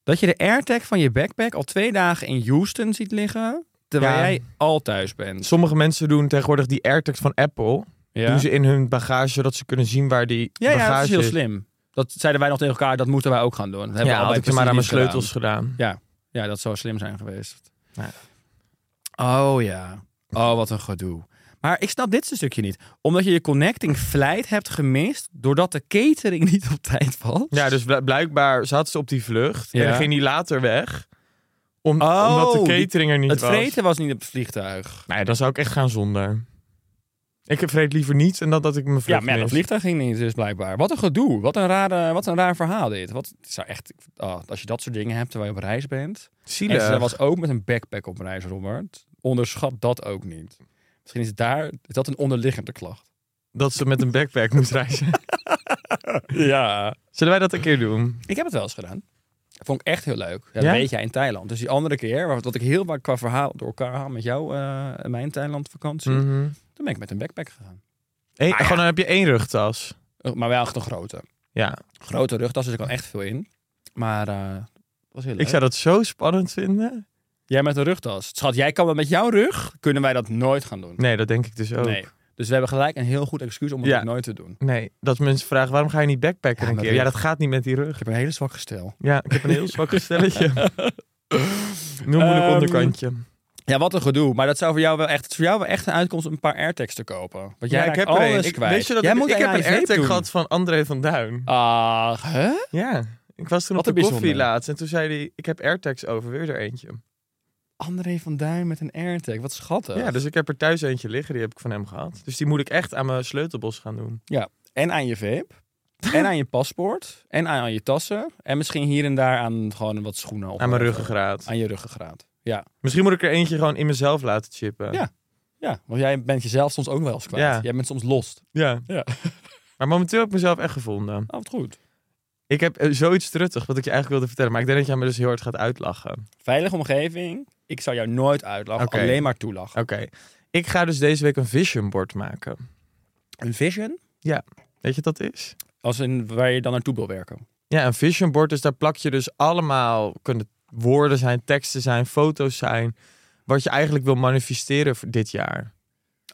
Speaker 2: Dat je de AirTag van je backpack al twee dagen in Houston ziet liggen... terwijl
Speaker 3: Ja.
Speaker 2: jij al thuis bent.
Speaker 3: Sommige mensen doen tegenwoordig die AirTags van Apple. Doen ze in hun bagage, zodat ze kunnen zien waar die
Speaker 2: Ja,
Speaker 3: bagage
Speaker 2: ja, dat is heel slim. Dat zeiden wij nog tegen elkaar, dat moeten wij ook gaan doen. Dat hebben
Speaker 3: Ja,
Speaker 2: we allebei
Speaker 3: had ik ze maar aan mijn
Speaker 2: precies gedaan.
Speaker 3: sleutels gedaan.
Speaker 2: Ja, dat zou slim zijn geweest.
Speaker 3: Ja.
Speaker 2: Oh ja. Oh, wat een gedoe. Maar ik snap dit stukje niet. Omdat je je connecting flight hebt gemist doordat de catering *laughs* niet op tijd was.
Speaker 3: Ja, dus bl- blijkbaar zat ze op die vlucht
Speaker 2: Ja.
Speaker 3: en dan ging die later weg. Om,
Speaker 2: Oh,
Speaker 3: omdat de
Speaker 2: die-
Speaker 3: catering er niet
Speaker 2: het
Speaker 3: was.
Speaker 2: vreten was niet op het vliegtuig.
Speaker 3: Nee, dan zou ik echt gaan zonder. Ik vreet liever niets en dat, dat ik mijn
Speaker 2: Ja,
Speaker 3: vlucht
Speaker 2: maar ja, dat
Speaker 3: mis.
Speaker 2: vliegtuig ging niet, dus blijkbaar. Wat een gedoe. Wat een, rare, wat een raar verhaal dit. Wat, het zou echt, oh, als je dat soort dingen hebt terwijl je op reis bent. En
Speaker 3: Zielig.
Speaker 2: ze was ook met een backpack op reis, Robert. Onderschat dat ook niet. Misschien is, het daar, is dat een onderliggende klacht.
Speaker 3: Dat ze met een backpack moest
Speaker 2: *laughs*
Speaker 3: reizen.
Speaker 2: Ja.
Speaker 3: Zullen wij dat een keer doen?
Speaker 2: Ik heb het wel eens gedaan. Dat vond ik echt heel leuk. Ja, dat
Speaker 3: Ja?
Speaker 2: weet jij in Thailand. Dus die andere keer, waar- dat ik heel vaak qua verhaal door elkaar haal met jou eh, en mijn Thailand vakantie.
Speaker 3: Mm.
Speaker 2: Toen ben ik met een backpack gegaan.
Speaker 3: Eén- Gewoon dan heb je één rugtas.
Speaker 2: Eh, Maar wel echt een grote.
Speaker 3: Ja,
Speaker 2: Grote rugtas, dus er kan echt veel in. Maar eh, dat was heel leuk.
Speaker 3: ik zou dat zo spannend vinden.
Speaker 2: Jij met een rugtas. Schat, jij kan wel met jouw rug. Kunnen wij dat nooit gaan doen?
Speaker 3: Nee, dat denk ik dus ook.
Speaker 2: Nee. Dus we hebben gelijk een heel goed excuus om het
Speaker 3: Ja.
Speaker 2: ook nooit te doen.
Speaker 3: Nee, dat mensen vragen, waarom ga je niet backpacken
Speaker 2: Ja,
Speaker 3: een
Speaker 2: maar
Speaker 3: keer?
Speaker 2: dat-
Speaker 3: Ja, dat gaat niet met die rug.
Speaker 2: Ik heb een hele zwak gestel.
Speaker 3: Ja, ik heb een heel zwak stelletje. Een heel moeilijk
Speaker 2: Ehm,
Speaker 3: onderkantje.
Speaker 2: Ja, wat een gedoe. Maar dat zou voor jou wel echt, het is voor jou wel echt een uitkomst om een paar airtags te kopen. Want jij
Speaker 3: ja, ik heb
Speaker 2: alles
Speaker 3: er een. Ik,
Speaker 2: kwijt.
Speaker 3: weet je dat
Speaker 2: jij
Speaker 3: ik,
Speaker 2: moet
Speaker 3: ik heb een airtag
Speaker 2: gehad.
Speaker 3: gehad van André van Duin.
Speaker 2: Ah, hè?
Speaker 3: Ja, ik was toen
Speaker 2: Wat
Speaker 3: op de
Speaker 2: een
Speaker 3: koffie
Speaker 2: bijzonder.
Speaker 3: laatst en toen zei hij, ik heb airtags over, weer er eentje.
Speaker 2: André van Duin met een airtag. Wat schattig.
Speaker 3: Ja, dus ik heb er thuis eentje liggen, die heb ik van hem gehad. Dus die moet ik echt aan mijn sleutelbos gaan doen.
Speaker 2: En aan je vape. en aan je paspoort. En aan, aan je tassen. En misschien hier en daar aan gewoon wat schoenen. Of
Speaker 3: aan mijn
Speaker 2: whatever.
Speaker 3: ruggengraat.
Speaker 2: Aan je ruggengraat. Ja.
Speaker 3: Misschien moet ik er eentje gewoon in mezelf laten chippen.
Speaker 2: Ja. ja, want jij bent jezelf soms ook wel eens kwijt.
Speaker 3: Ja.
Speaker 2: Jij bent soms lost.
Speaker 3: ja.
Speaker 2: Ja.
Speaker 3: *laughs* Maar momenteel heb ik mezelf echt gevonden.
Speaker 2: Nou, wat goed.
Speaker 3: Ik heb eh, zoiets truttig wat ik je eigenlijk wilde vertellen. Maar ik denk dat jij me dus heel hard gaat uitlachen.
Speaker 2: Veilige omgeving. Ik zou jou nooit uitlachen.
Speaker 3: Oké.
Speaker 2: Alleen maar toelachen.
Speaker 3: Oké. Ik ga dus deze week een vision board maken.
Speaker 2: Een vision?
Speaker 3: Weet je wat dat is?
Speaker 2: Als in waar je dan naartoe wil werken.
Speaker 3: Ja, een vision board. Dus daar plak je dus allemaal, kunnen woorden zijn, teksten zijn, foto's zijn. Wat je eigenlijk wil manifesteren voor dit jaar.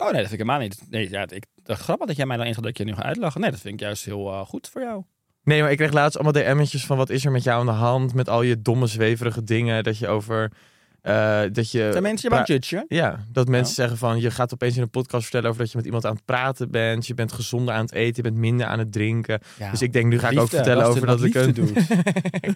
Speaker 2: Oh nee, dat vind ik helemaal niet. Nee, ja, ik, dat grappig dat jij mij dan ingaat dat ik je nu gaat uitlachen. Nee, dat vind ik juist heel eh, goed voor jou.
Speaker 3: Nee, maar ik kreeg laatst allemaal DM'tjes van wat is er met jou aan de hand? Met al je domme, zweverige dingen. Dat je over. eh, dat je.
Speaker 2: Zijn mensen je
Speaker 3: pra-
Speaker 2: aan het judgen?
Speaker 3: Ja, dat mensen zeggen van je gaat opeens in een podcast vertellen over dat je met iemand aan het praten bent. Je bent gezonder aan het eten, je bent minder aan het drinken.
Speaker 2: Ja.
Speaker 3: Dus ik denk, nu ga ik ook
Speaker 2: Liefde,
Speaker 3: vertellen
Speaker 2: wat
Speaker 3: over
Speaker 2: het
Speaker 3: dat ik
Speaker 2: met
Speaker 3: een.
Speaker 2: liefde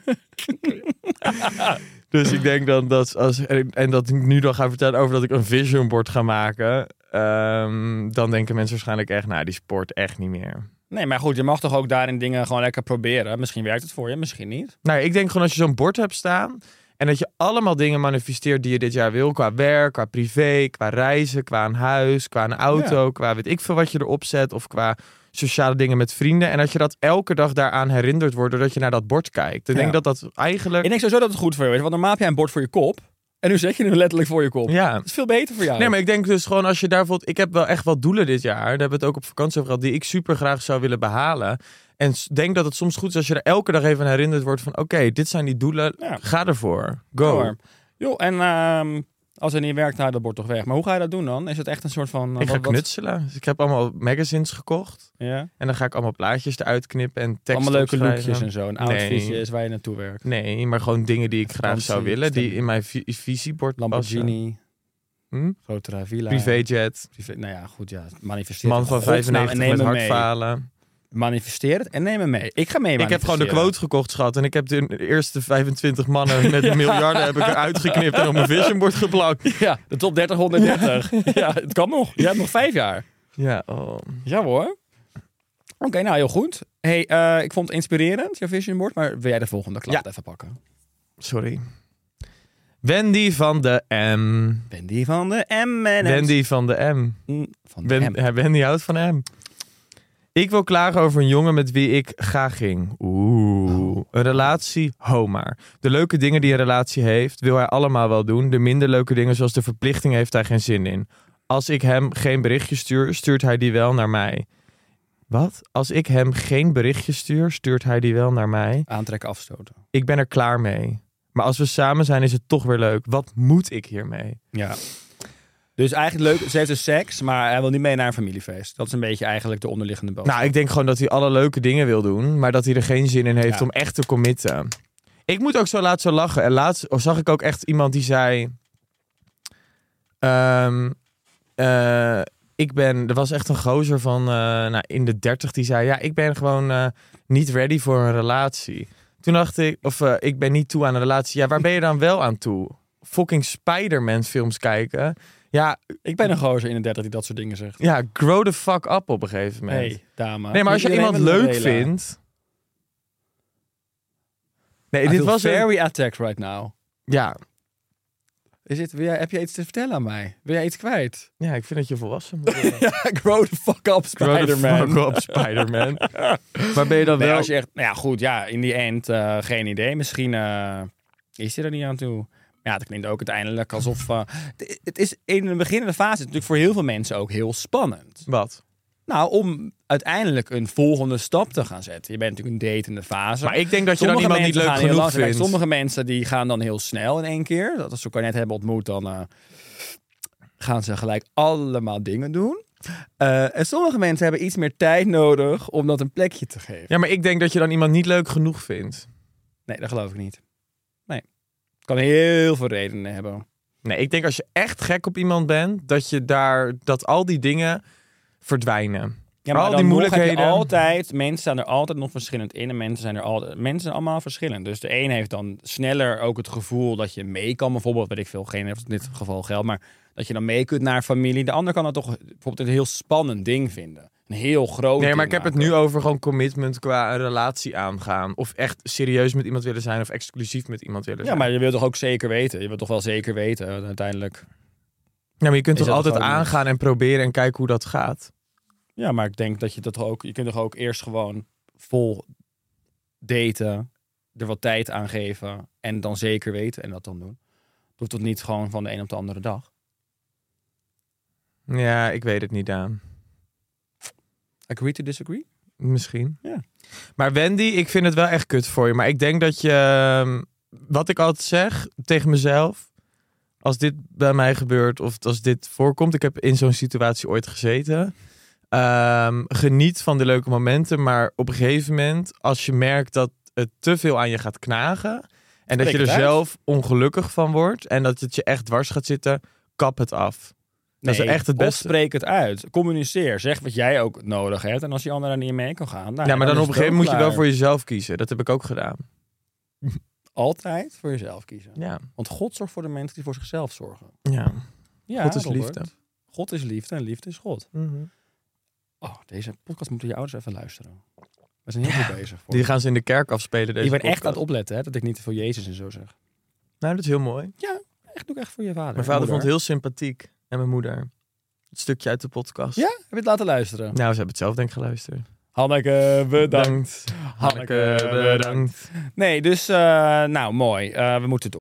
Speaker 2: doet.
Speaker 3: Dus ik denk dan dat als. En en dat ik nu dan ga vertellen over dat ik een vision board ga maken. ehm, dan denken mensen waarschijnlijk echt, nou, die sport echt niet meer.
Speaker 2: Nee, maar goed, je mag toch ook daarin dingen gewoon lekker proberen. Misschien werkt het voor je, misschien niet.
Speaker 3: Nou, ik denk gewoon als je zo'n bord hebt staan. En dat je allemaal dingen manifesteert die je dit jaar wil. Qua werk, qua privé, qua reizen, qua een huis, qua een auto, qua weet ik veel wat je erop zet. Of qua sociale dingen met vrienden. En dat je dat elke dag daaraan herinnerd wordt doordat je naar dat bord kijkt. Ik denk
Speaker 2: Ja.
Speaker 3: dat dat eigenlijk...
Speaker 2: Ik denk sowieso dat het goed voor je is, want normaal heb jij een bord voor je kop. En nu zet je hem letterlijk voor je kop.
Speaker 3: Ja.
Speaker 2: Dat is veel beter voor jou.
Speaker 3: Nee, maar ik denk dus gewoon als je daar bijvoorbeeld... Ik heb wel echt wat doelen dit jaar. Daar hebben we het ook op vakantie over gehad. Die ik super graag zou willen behalen. En s- denk dat het soms goed is als je er elke dag even aan herinnerd wordt van... Oké, dit zijn die doelen.
Speaker 2: Ja.
Speaker 3: Ga ervoor. Go.
Speaker 2: Hoor. Joh, en ehm, als het niet werkt, nou, dat bord toch weg. Maar hoe ga je dat doen dan? Is het echt een soort van... eh,
Speaker 3: Ik ga
Speaker 2: wat- wat-
Speaker 3: knutselen. Dus ik heb allemaal magazines gekocht.
Speaker 2: Ja?
Speaker 3: En dan ga ik allemaal plaatjes eruit knippen en teksten
Speaker 2: Allemaal leuke
Speaker 3: opschrijven.
Speaker 2: lookjes en zo. En outfitjes waar je naartoe werkt.
Speaker 3: Nee, maar gewoon dingen die ik graag zou
Speaker 2: Vakantie,
Speaker 3: willen. Die
Speaker 2: stemming.
Speaker 3: in mijn vi- visiebord passen.
Speaker 2: Lamborghini,
Speaker 3: Hm?
Speaker 2: grotere villa.
Speaker 3: Privéjet.
Speaker 2: privé- Nou ja, goed, ja. Manifesteer
Speaker 3: Man
Speaker 2: het.
Speaker 3: van
Speaker 2: Godsnaam,
Speaker 3: 95
Speaker 2: en nou, neem
Speaker 3: met
Speaker 2: hem mee.
Speaker 3: hartfalen.
Speaker 2: Manifesteer het en neem hem mee. Ik ga mee
Speaker 3: Ik heb gewoon de
Speaker 2: manifesteren.
Speaker 3: quote gekocht, schat. En ik heb de eerste 25 mannen met *laughs* miljarden heb ik eruit geknipt en op mijn visionbord geplakt.
Speaker 2: Ja, de top 30, 130. Ja. het kan nog. Je hebt nog vijf jaar.
Speaker 3: Ja, oh.
Speaker 2: Ja hoor. Oké, nou heel goed. hey, eh, ik vond het inspirerend, jouw vision board. Maar wil jij de volgende klant even pakken?
Speaker 3: sorry. Wendy van de M.
Speaker 2: Wendy van de M. en
Speaker 3: Wendy van de M.
Speaker 2: Van de
Speaker 3: Ben,
Speaker 2: M.
Speaker 3: ja, Wendy houdt van hem. Ik wil klagen over een jongen met wie ik graag ging. Oeh. Een relatie, ho maar. De leuke dingen die een relatie heeft, wil hij allemaal wel doen. De minder leuke dingen, zoals de verplichting, heeft hij geen zin in. Als ik hem geen berichtje stuur, stuurt hij die wel naar mij. Wat? Als ik hem geen berichtje stuur, stuurt hij die wel naar mij.
Speaker 2: Aantrekken, afstoten.
Speaker 3: Ik ben er klaar mee. Maar als we samen zijn, is het toch weer leuk. Wat moet ik hiermee?
Speaker 2: Ja. Dus eigenlijk leuk, ze heeft dus seks, maar hij wil niet mee naar een familiefeest. Dat is een beetje eigenlijk de onderliggende boodschap.
Speaker 3: Nou, ik denk gewoon dat hij alle leuke dingen wil doen, maar dat hij er geen zin in heeft
Speaker 2: Ja.
Speaker 3: om echt te committen. Ik moet ook zo laat zo lachen. En laatst zag ik ook echt iemand die zei. ehm, eh, ik ben, er was echt een gozer van eh, nou, in de 30 die zei: Ja, ik ben gewoon eh, niet ready voor een relatie. Toen dacht ik, of eh, ik ben niet toe aan een relatie. Ja, waar ben je dan wel aan toe? Fucking Spider-Man films kijken. Ja,
Speaker 2: ik ben een gozer in de 30 die dat soort dingen zegt.
Speaker 3: ja, grow the fuck up op een gegeven moment.
Speaker 2: Nee, dame.
Speaker 3: Nee, maar als je
Speaker 2: Iedereen
Speaker 3: iemand
Speaker 2: wil een
Speaker 3: leuk
Speaker 2: Mandela.
Speaker 3: vindt.
Speaker 2: I
Speaker 3: Nee, dit
Speaker 2: feel
Speaker 3: was een-
Speaker 2: very attacked right now.
Speaker 3: Ja.
Speaker 2: Is dit, wil jij, heb je iets te vertellen aan mij? Wil jij iets kwijt?
Speaker 3: ja, ik vind dat je volwassen moet *laughs* worden.
Speaker 2: *laughs* Ja, grow the fuck up,
Speaker 3: Grow the fuck up, *laughs* Spider-Man. maar ben je dan
Speaker 2: Nee,
Speaker 3: wel...
Speaker 2: als je echt, nou ja, goed, ja, in die end, eh, geen idee. Misschien eh, is hij er niet aan toe. Ja, dat klinkt ook uiteindelijk alsof... eh, het- het is in de beginnende fase natuurlijk voor heel veel mensen ook heel spannend.
Speaker 3: Wat?
Speaker 2: Nou, om uiteindelijk een volgende stap te gaan zetten. Je bent natuurlijk een datende fase.
Speaker 3: Maar ik denk dat je dan iemand niet
Speaker 2: mensen
Speaker 3: leuk
Speaker 2: gaan heel
Speaker 3: genoeg
Speaker 2: langzaam. Kijk,
Speaker 3: vindt.
Speaker 2: Sommige mensen die gaan dan heel snel in één keer. Dat als ze elkaar net hebben ontmoet, dan eh, gaan ze gelijk allemaal dingen doen. Eh, en sommige mensen hebben iets meer tijd nodig om dat een plekje te geven.
Speaker 3: Ja, maar ik denk dat je dan iemand niet leuk genoeg vindt.
Speaker 2: Nee, dat geloof ik niet. Nee. Kan heel veel redenen hebben.
Speaker 3: Nee, ik denk als je echt gek op iemand bent, dat je daar, dat al die dingen verdwijnen.
Speaker 2: Ja, maar
Speaker 3: al
Speaker 2: dan
Speaker 3: die
Speaker 2: nog heb je
Speaker 3: moeilijkheden.
Speaker 2: altijd, mensen staan er altijd nog verschillend in en mensen zijn er altijd, mensen zijn allemaal verschillend. Dus de een heeft dan sneller ook het gevoel dat je mee kan, bijvoorbeeld, weet ik veel, geen in dit geval geld, maar dat je dan mee kunt naar familie. De ander kan dat toch bijvoorbeeld een heel spannend ding vinden. Een heel groot
Speaker 3: Nee, maar
Speaker 2: ding
Speaker 3: ik heb het
Speaker 2: maken.
Speaker 3: nu over gewoon commitment qua een relatie aangaan. Of echt serieus met iemand willen zijn of exclusief met iemand willen
Speaker 2: Ja,
Speaker 3: zijn.
Speaker 2: maar je wilt toch ook zeker weten. Je wilt toch wel zeker weten eh, uiteindelijk.
Speaker 3: Ja, maar je kunt
Speaker 2: Is
Speaker 3: toch
Speaker 2: dat
Speaker 3: altijd
Speaker 2: gewoon-
Speaker 3: aangaan en proberen en kijken hoe dat gaat.
Speaker 2: Ja, maar ik denk dat je dat toch ook. Je kunt toch ook eerst gewoon vol daten, er wat tijd aan geven en dan zeker weten en dat dan doen. Doet dat niet gewoon van de een op de andere dag?
Speaker 3: Ja, ik weet het niet, Daan.
Speaker 2: Agree to disagree?
Speaker 3: Misschien.
Speaker 2: Ja.
Speaker 3: Maar Wendy, ik vind het wel echt kut voor je. Maar ik denk dat je, ehm, wat ik altijd zeg tegen mezelf, als dit bij mij gebeurt of als dit voorkomt, ik heb in zo'n situatie ooit gezeten. ehm, geniet van de leuke momenten, maar op een gegeven moment, als je merkt dat het te veel aan je gaat knagen en dat
Speaker 2: Spreek
Speaker 3: je er
Speaker 2: het uit.
Speaker 3: zelf ongelukkig van wordt en dat het je echt dwars gaat zitten, kap het af. dat is echt het
Speaker 2: Of
Speaker 3: beste.
Speaker 2: spreek het uit. Communiceer. Zeg wat jij ook nodig hebt. En als die ander daar niet in mee kan gaan. nou
Speaker 3: Ja, maar dan,
Speaker 2: is
Speaker 3: op een
Speaker 2: het
Speaker 3: gegeven moment moet je wel
Speaker 2: ook
Speaker 3: voor jezelf kiezen. Dat heb ik ook gedaan.
Speaker 2: klaar. Altijd voor jezelf kiezen.
Speaker 3: Ja.
Speaker 2: Want God zorgt voor de mensen die voor zichzelf zorgen.
Speaker 3: Ja.
Speaker 2: Ja,
Speaker 3: God is
Speaker 2: Robert.
Speaker 3: liefde.
Speaker 2: God is liefde en liefde is God. Oh, deze podcast moeten je ouders even luisteren. We zijn heel goed bezig. voor.
Speaker 3: Die gaan ze in de kerk afspelen.
Speaker 2: Ik
Speaker 3: Deze
Speaker 2: ben echt aan het
Speaker 3: podcast.
Speaker 2: opletten hè, dat ik niet te veel Jezus en zo zeg.
Speaker 3: Nou, dat is heel mooi.
Speaker 2: Echt, doe ik echt voor je vader.
Speaker 3: Mijn vader vond
Speaker 2: Moeder.
Speaker 3: het heel sympathiek. En mijn moeder. Het stukje uit de podcast.
Speaker 2: Ja? Heb je het laten luisteren?
Speaker 3: Nou, ze hebben het zelf denk ik geluisterd.
Speaker 2: Hanneke, bedankt.
Speaker 3: Hanneke, bedankt.
Speaker 2: Nee, dus, eh, nou, mooi. Eh, we moeten het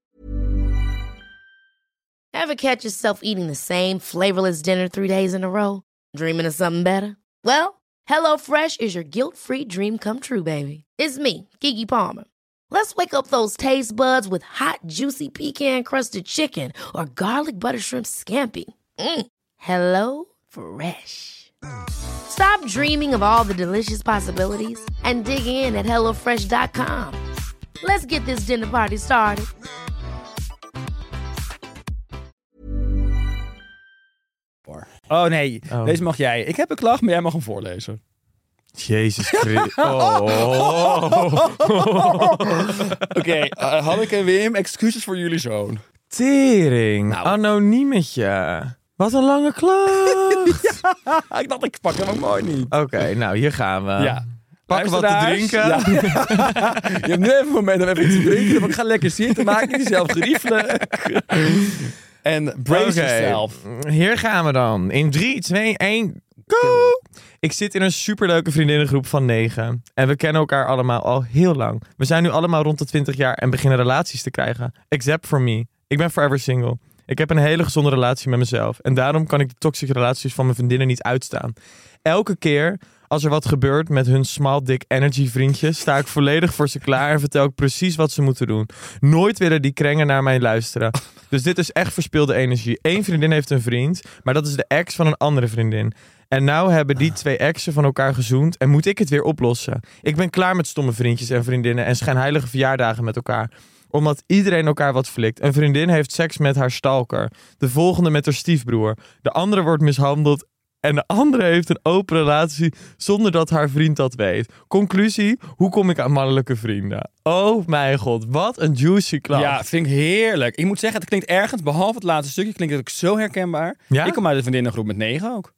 Speaker 5: Ever catch yourself eating the same flavorless dinner three days in a row? Dreaming of something better? Well, HelloFresh is your guilt-free dream come true, baby. It's me, Kiki Palmer. Let's wake up those taste buds with hot, juicy pecan-crusted chicken or garlic butter shrimp scampi. Mm. Hello Fresh. Stop dreaming of all the delicious possibilities and dig in at HelloFresh.com. Let's get this dinner party started.
Speaker 2: door. Oh nee,
Speaker 3: Oh.
Speaker 2: deze mag jij. Ik heb een klacht, maar jij mag hem voorlezen. *laughs*
Speaker 3: Jezus Christus. Oh.
Speaker 2: Oké, *laughs* eh, Hanneke en Wim, excuses voor jullie zoon.
Speaker 3: Tering.
Speaker 2: Nou.
Speaker 3: Anoniemetje. Wat een lange
Speaker 2: *laughs*
Speaker 3: klacht.
Speaker 2: Ah, ik dacht, ik pak hem ook mooi niet.
Speaker 3: Oké, nou hier gaan we.
Speaker 2: Ja.
Speaker 3: Pak wat te
Speaker 2: Luisteraars,
Speaker 3: drinken.
Speaker 2: ja.
Speaker 3: *laughs*
Speaker 2: Je hebt nu even een moment om even iets te drinken. Want ik ga lekker zitten maken, jezelf geriefelen. en brace
Speaker 3: Oké.
Speaker 2: yourself.
Speaker 3: Hier gaan we dan. In 3, 2, 1, go! Ik zit in een superleuke vriendinnengroep van 9. En we kennen elkaar allemaal al heel lang. We zijn nu allemaal rond de 20 jaar en beginnen relaties te krijgen. Except for me. Ik ben forever single. Ik heb een hele gezonde relatie met mezelf. En daarom kan ik de toxische relaties van mijn vriendinnen niet uitstaan. Elke keer als er wat gebeurt met hun small dick energy vriendjes, sta ik volledig voor ze klaar en vertel ik precies wat ze moeten doen. Nooit willen die krengen naar mij luisteren. Dus dit is echt verspilde energie. Eén vriendin heeft een vriend, maar dat is de ex van een andere vriendin. En nou hebben die twee exen van elkaar gezoend en moet ik het weer oplossen. Ik ben klaar met stomme vriendjes en vriendinnen en schijnheilige verjaardagen met elkaar omdat iedereen elkaar wat flikt. Een vriendin heeft seks met haar stalker. De volgende met haar stiefbroer. De andere wordt mishandeld. En de andere heeft een open relatie zonder dat haar vriend dat weet. Conclusie, hoe kom ik aan mannelijke vrienden? Oh mijn god, wat een juicy klacht.
Speaker 2: Ja, vind ik heerlijk. Ik moet zeggen, het klinkt ergens, behalve het laatste stukje, klinkt het ook zo herkenbaar.
Speaker 3: Ja?
Speaker 2: Ik kom uit de vriendinnengroep met negen ook.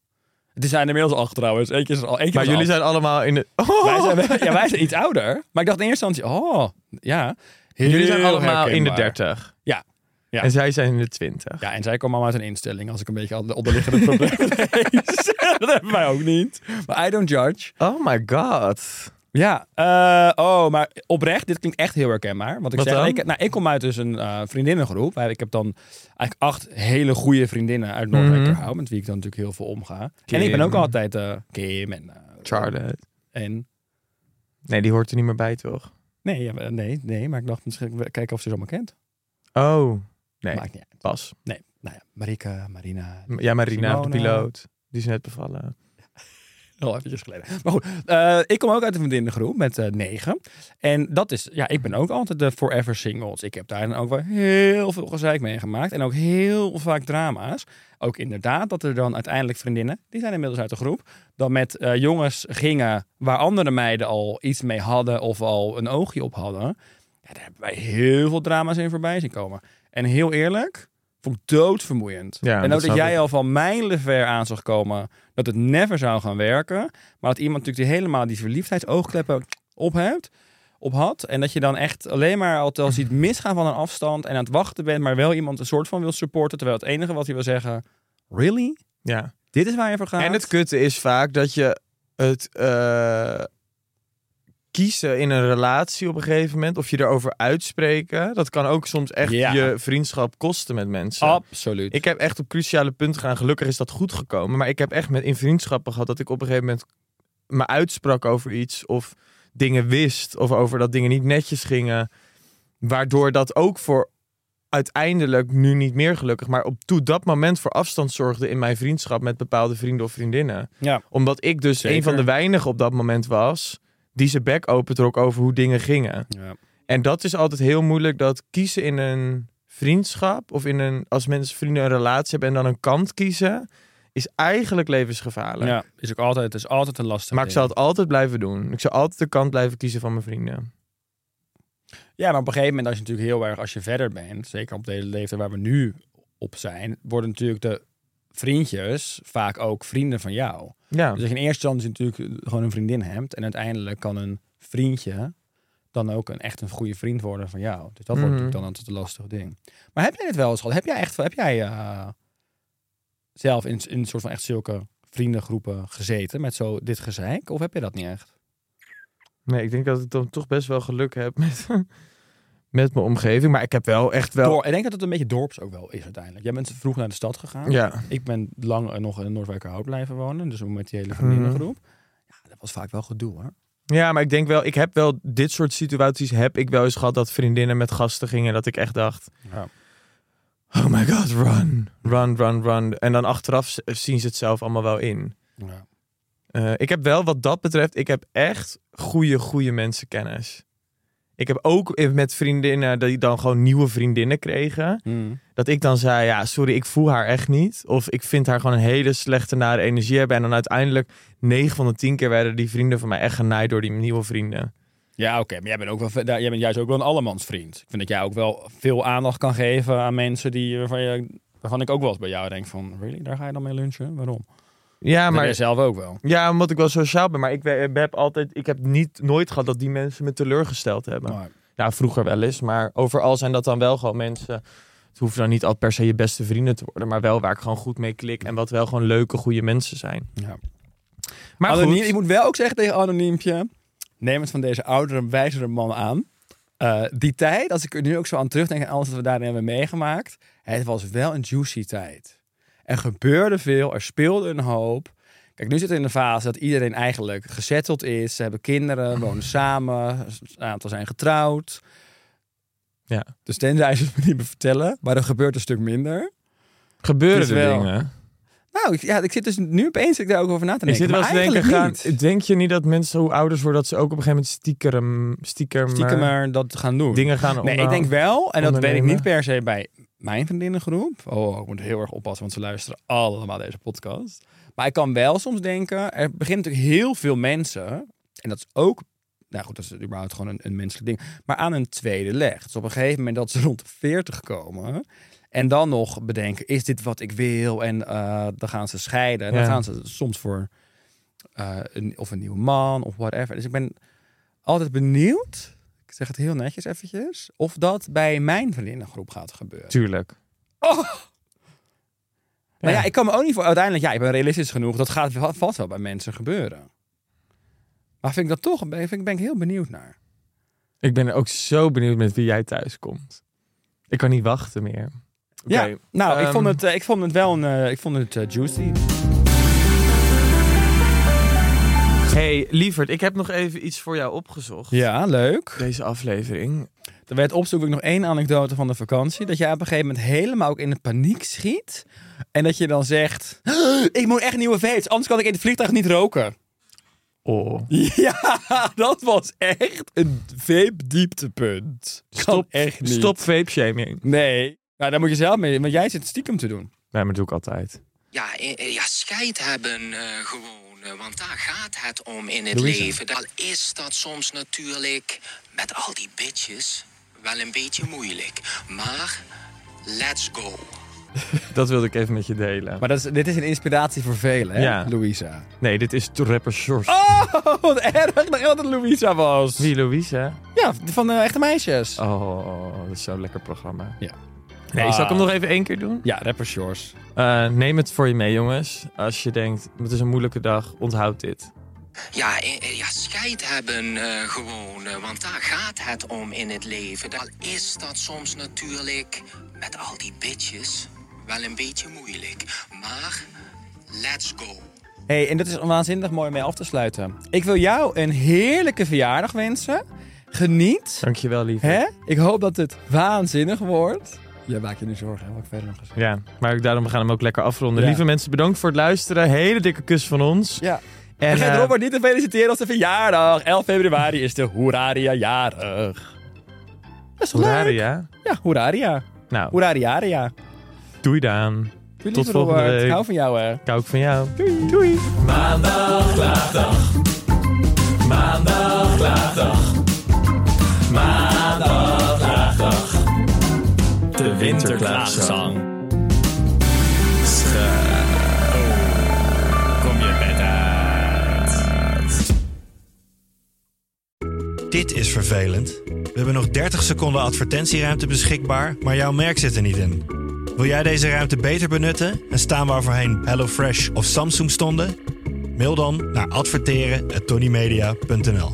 Speaker 2: Die zijn inmiddels acht trouwens. Eentje is er al, eentje
Speaker 3: Maar
Speaker 2: was
Speaker 3: jullie
Speaker 2: af.
Speaker 3: zijn allemaal in de... Oh,
Speaker 2: Wij zijn, *laughs* ja, wij zijn iets ouder. Maar ik dacht in eerste instantie, oh, ja.
Speaker 3: jullie zijn
Speaker 2: Heel
Speaker 3: allemaal in de
Speaker 2: herkenbaar.
Speaker 3: 30.
Speaker 2: Ja. ja.
Speaker 3: En zij zijn in de 20.
Speaker 2: Ja, en zij kwam allemaal uit een instelling, als ik een beetje al de onderliggende problemen *laughs* lees. dat hebben wij ook niet. Maar I don't judge.
Speaker 3: Oh my god.
Speaker 2: Ja, eh, oh, maar oprecht, dit klinkt echt heel herkenbaar. Want ik,
Speaker 3: Wat
Speaker 2: zeg,
Speaker 3: dan?
Speaker 2: ik, nou, ik kom uit dus een eh, vriendinnengroep. Eh, Ik heb dan eigenlijk acht hele goede vriendinnen uit Noordwijk mm met wie ik dan natuurlijk heel veel omga. En ik ben
Speaker 3: Mhm. Kim.
Speaker 2: ook altijd eh, Kim en, eh,
Speaker 3: Charlotte.
Speaker 2: en...
Speaker 3: Nee, die hoort er niet meer bij, toch?
Speaker 2: Nee, ja, nee, nee, maar ik dacht misschien kijken of ze ze allemaal kent.
Speaker 3: Oh. Nee,
Speaker 2: Maakt niet uit.
Speaker 3: Bas.
Speaker 2: Nee, nou ja, Marika, Marina.
Speaker 3: Ja, Marina, de
Speaker 2: Simone.
Speaker 3: piloot. Die is net bevallen.
Speaker 2: Al Oh, eventjes geleden. Maar goed, eh, ik kom ook uit de vriendinnengroep met eh, negen. En dat is, ja, ik ben ook altijd de forever singles. Ik heb daar dan ook wel heel veel gezeik mee gemaakt. En ook heel vaak drama's. Ook inderdaad dat er dan uiteindelijk vriendinnen, die zijn inmiddels uit de groep, dan met eh, jongens gingen waar andere meiden al iets mee hadden of al een oogje op hadden. Ja, daar hebben wij heel veel drama's in voorbij zien komen. En heel eerlijk, vond ik doodvermoeiend.
Speaker 3: Ja,
Speaker 2: en
Speaker 3: dat
Speaker 2: ook dat
Speaker 3: snap
Speaker 2: jij
Speaker 3: ik.
Speaker 2: al van mijlenver aan zag komen dat het never zou gaan werken. Maar dat iemand natuurlijk die helemaal die verliefdheidsoogkleppen op hebt, op had. En dat je dan echt alleen maar al wel ziet misgaan van een afstand en aan het wachten bent, maar wel iemand een soort van wil supporten. Terwijl het enige wat hij wil zeggen, really?
Speaker 3: Ja.
Speaker 2: Dit is waar je voor gaat?
Speaker 3: En het kutte is vaak dat je het eh, kiezen in een relatie op een gegeven moment, of je erover uitspreken, dat kan ook soms echt
Speaker 2: Ja.
Speaker 3: je vriendschap kosten met mensen.
Speaker 2: Absoluut.
Speaker 3: Ik heb echt op cruciale punten gaan. Gelukkig is dat goed gekomen. Maar ik heb echt met in vriendschappen gehad dat ik op een gegeven moment me uitsprak over iets of dingen wist of over dat dingen niet netjes gingen, waardoor dat ook voor uiteindelijk nu niet meer gelukkig, maar op toe dat moment voor afstand zorgde in mijn vriendschap met bepaalde vrienden of vriendinnen.
Speaker 2: ja.
Speaker 3: Omdat ik dus
Speaker 2: Zeker.
Speaker 3: een van de weinigen op dat moment was die zijn bek opentrok over hoe dingen gingen.
Speaker 2: ja.
Speaker 3: En dat is altijd heel moeilijk, dat kiezen in een vriendschap of in een, als mensen vrienden een relatie hebben en dan een kant kiezen, is eigenlijk levensgevaarlijk.
Speaker 2: Ja, is ook altijd, is altijd een lastig
Speaker 3: Maar ik zal het altijd blijven doen. Ik zal altijd de kant blijven kiezen van mijn vrienden.
Speaker 2: Ja, maar op een gegeven moment, als je natuurlijk heel erg, als je verder bent, zeker op de hele leeftijd waar we nu op zijn, worden natuurlijk de vriendjes vaak ook vrienden van jou.
Speaker 3: Ja,
Speaker 2: Dus als je in eerste instantie natuurlijk eh, gewoon een vriendin hebt en uiteindelijk kan een vriendje dan ook een, echt een goede vriend worden van jou. Dus dat wordt
Speaker 3: Mhm.
Speaker 2: natuurlijk dan altijd een lastig ding. Maar heb jij dit wel eens gehad? Heb jij echt, heb jij eh, zelf in, in een soort van echt zulke vriendengroepen gezeten met zo dit gezeik? Of heb je dat niet echt?
Speaker 3: nee, ik denk dat ik dan toch best wel geluk heb met, *laughs* met mijn omgeving. Maar ik heb wel echt wel...
Speaker 2: Door, ik denk dat het een beetje dorps ook wel is uiteindelijk. Jij bent vroeg naar de stad gegaan.
Speaker 3: Ja,
Speaker 2: Ik ben lang eh, nog in Noordwijkerhout blijven wonen. Dus met die hele
Speaker 3: Mhm.
Speaker 2: vriendinnengroep. Ja, dat was vaak wel gedoe hoor.
Speaker 3: Ja, maar ik denk wel, ik heb wel dit soort situaties heb ik wel eens gehad dat vriendinnen met gasten gingen. Dat ik echt dacht,
Speaker 2: Ja.
Speaker 3: oh my god, run, run, run, run. En dan achteraf z- zien ze het zelf allemaal wel in.
Speaker 2: Ja.
Speaker 3: Eh, ik heb wel wat dat betreft, ik heb echt goede, goede mensenkennis. Ik heb ook met vriendinnen die dan gewoon nieuwe vriendinnen kregen. Dat ik dan zei, ja, sorry, ik voel haar echt niet. Of ik vind haar gewoon een hele slechte, nare energie hebben. En dan uiteindelijk 9 van de 10 keer werden die vrienden van mij echt genaaid door die nieuwe vrienden.
Speaker 2: Ja, oké. Maar jij bent, ook wel, ve- daar- jij bent juist ook wel een allemansvriend. Ik vind dat jij ook wel veel aandacht kan geven aan mensen die, waarvan, je, waarvan ik ook wel eens bij jou denk van... Really? Daar ga je dan mee lunchen? Waarom?
Speaker 3: Ja,
Speaker 2: Maar
Speaker 3: maar
Speaker 2: jij zelf ook wel.
Speaker 3: Ja, omdat ik wel sociaal ben. Maar ik, we- heb altijd, ik heb niet, nooit gehad dat die mensen me teleurgesteld hebben.
Speaker 2: Maar,
Speaker 3: Ja, vroeger wel eens. Maar overal zijn dat dan wel gewoon mensen. Het hoeven dan niet al per se je beste vrienden te worden. Maar wel waar ik gewoon goed mee klik. En wat wel gewoon leuke, goede mensen zijn.
Speaker 2: ja.
Speaker 3: Maar
Speaker 2: Anoniem, ik
Speaker 3: goed.
Speaker 2: moet wel ook zeggen tegen Anoniempje... Neem het van deze oudere, wijzere man aan. Eh, die tijd, als ik er nu ook zo aan terugdenk... en alles wat we daarin hebben meegemaakt... het was wel een juicy tijd. Er gebeurde veel, er speelde een hoop. Kijk, nu zit het in de fase dat iedereen eigenlijk gezetteld is. Ze hebben
Speaker 3: *laughs*
Speaker 2: kinderen, wonen samen. Een aantal zijn getrouwd.
Speaker 3: Ja.
Speaker 2: Dus tenzij ze het me niet meer vertellen. Maar er gebeurt een stuk minder.
Speaker 3: Gebeuren
Speaker 2: Het
Speaker 3: er
Speaker 2: is dus wel-
Speaker 3: dingen?
Speaker 2: Nou, ik, ja, ik zit dus nu opeens zit ik daar ook over na te
Speaker 3: Ik
Speaker 2: denken.
Speaker 3: zit wel eens
Speaker 2: maar
Speaker 3: te denken,
Speaker 2: eigenlijk
Speaker 3: gaan,
Speaker 2: niet.
Speaker 3: denk je niet dat mensen hoe ouders worden, dat ze ook op een gegeven moment stiekem, stiekem,
Speaker 2: stiekem maar dat gaan doen.
Speaker 3: dingen gaan
Speaker 2: Nee, ik denk wel, en dat weet ik
Speaker 3: ondernemen.
Speaker 2: niet per se bij mijn vriendinnengroep. Oh, ik moet heel erg oppassen, want ze luisteren allemaal deze podcast. Maar ik kan wel soms denken, er beginnen natuurlijk heel veel mensen, en dat is ook, nou goed, dat is überhaupt gewoon een, een menselijk ding, maar aan een tweede leg. Dus op een gegeven moment dat ze *laughs* rond de 40 komen en dan nog bedenken, is dit wat ik wil? En eh, dan gaan ze scheiden. En dan
Speaker 3: Ja.
Speaker 2: gaan ze soms voor eh, een, of een nieuwe man of whatever. Dus ik ben altijd benieuwd, ik zeg het heel netjes eventjes, of dat bij mijn vriendinnengroep gaat gebeuren.
Speaker 3: Tuurlijk.
Speaker 2: Maar Nou ja, ik kan me ook niet voor uiteindelijk, ja, ik ben realistisch genoeg, dat gaat va- vast wel bij mensen gebeuren. Maar vind ik dat toch, ben, vind, ik- ben ik heel benieuwd naar.
Speaker 3: Ik ben ook zo benieuwd met wie jij thuis komt. Ik kan niet wachten meer.
Speaker 2: ja,
Speaker 3: Oké,
Speaker 2: nou, ik,
Speaker 3: ehm,
Speaker 2: vond het, eh, ik vond het wel een, eh, ik vond het eh, juicy.
Speaker 6: hey, lieverd, ik heb nog even iets voor jou opgezocht.
Speaker 2: Ja, leuk.
Speaker 6: Deze aflevering.
Speaker 2: Er werd opzoek ik nog één anekdote van de vakantie. Dat jij op een gegeven moment helemaal ook in de paniek schiet. En dat je dan zegt, ik moet echt nieuwe vapes, anders kan ik in het vliegtuig niet roken.
Speaker 6: Oh.
Speaker 2: *laughs* Ja, dat was echt een vape dieptepunt. Kan
Speaker 6: Stop,
Speaker 2: echt niet.
Speaker 6: stop vape shaming.
Speaker 2: Nee. Nou, daar moet je zelf mee, want jij zit stiekem te doen.
Speaker 6: Nee, maar doe ik altijd.
Speaker 7: Ja, eh, eh, ja scheid hebben eh, gewoon. eh, Want daar gaat het om in het
Speaker 2: Louise.
Speaker 7: leven. Al is dat soms natuurlijk met al die bitches wel een beetje moeilijk. Maar let's go.
Speaker 6: Dat wilde ik even met je delen.
Speaker 2: Maar dat is, dit is een inspiratie voor velen, hè,
Speaker 6: Ja.
Speaker 2: Louisa?
Speaker 6: Nee, dit is de rapper Short.
Speaker 2: Oh, wat erg dat het Louisa was.
Speaker 6: Wie, Louise?
Speaker 2: Ja, van eh, Echte Meisjes.
Speaker 6: Oh, dat is zo'n lekker programma.
Speaker 2: Ja. Ah.
Speaker 6: Nee, zal ik hem nog even één keer doen?
Speaker 2: Ja, rapper Shores.
Speaker 6: Eh, neem het voor je mee, jongens. Als je denkt, het is een moeilijke dag, onthoud dit.
Speaker 7: Ja, eh, eh, ja scheid hebben eh, gewoon. eh, Want daar gaat het om in het leven. Al is dat soms natuurlijk met al die bitches wel een beetje moeilijk. Maar let's go.
Speaker 2: hey, en dat is waanzinnig mooi om mee af te sluiten. Ik wil jou een heerlijke verjaardag wensen. Geniet.
Speaker 6: Dankjewel, lieve.
Speaker 2: Hè? Ik hoop dat het waanzinnig wordt. Jij maakt je nu zorgen, hè, wat ik verder nog gezegd heb.
Speaker 6: Ja, maar ook daarom we gaan hem ook lekker afronden.
Speaker 2: Ja.
Speaker 6: Lieve mensen, bedankt voor het luisteren. Hele dikke kus van ons.
Speaker 2: Ja.
Speaker 6: En,
Speaker 2: En
Speaker 6: eh,
Speaker 2: Robert niet te feliciteren op zijn verjaardag. 11 februari is de Hoeraria jarig. Dat is toch leuk?
Speaker 6: Hoeraria.
Speaker 2: Ja, Hoeraria.
Speaker 6: Nou,
Speaker 2: Hoerariaria.
Speaker 6: doei Daan.
Speaker 2: Doe eh,
Speaker 6: Tot
Speaker 2: lief,
Speaker 6: volgende
Speaker 2: Robert. Ik
Speaker 6: week.
Speaker 2: hou van jou, hè.
Speaker 6: Ik hou ook van jou.
Speaker 2: Doei. Doei.
Speaker 6: De winterklaagzang. Kom je bed
Speaker 8: Dit is vervelend. We hebben nog 30 seconden advertentieruimte beschikbaar, maar jouw merk zit er niet in. Wil jij deze ruimte beter benutten en staan waar voorheen HelloFresh of Samsung stonden? Mail dan naar adverteren@tonymedia.nl.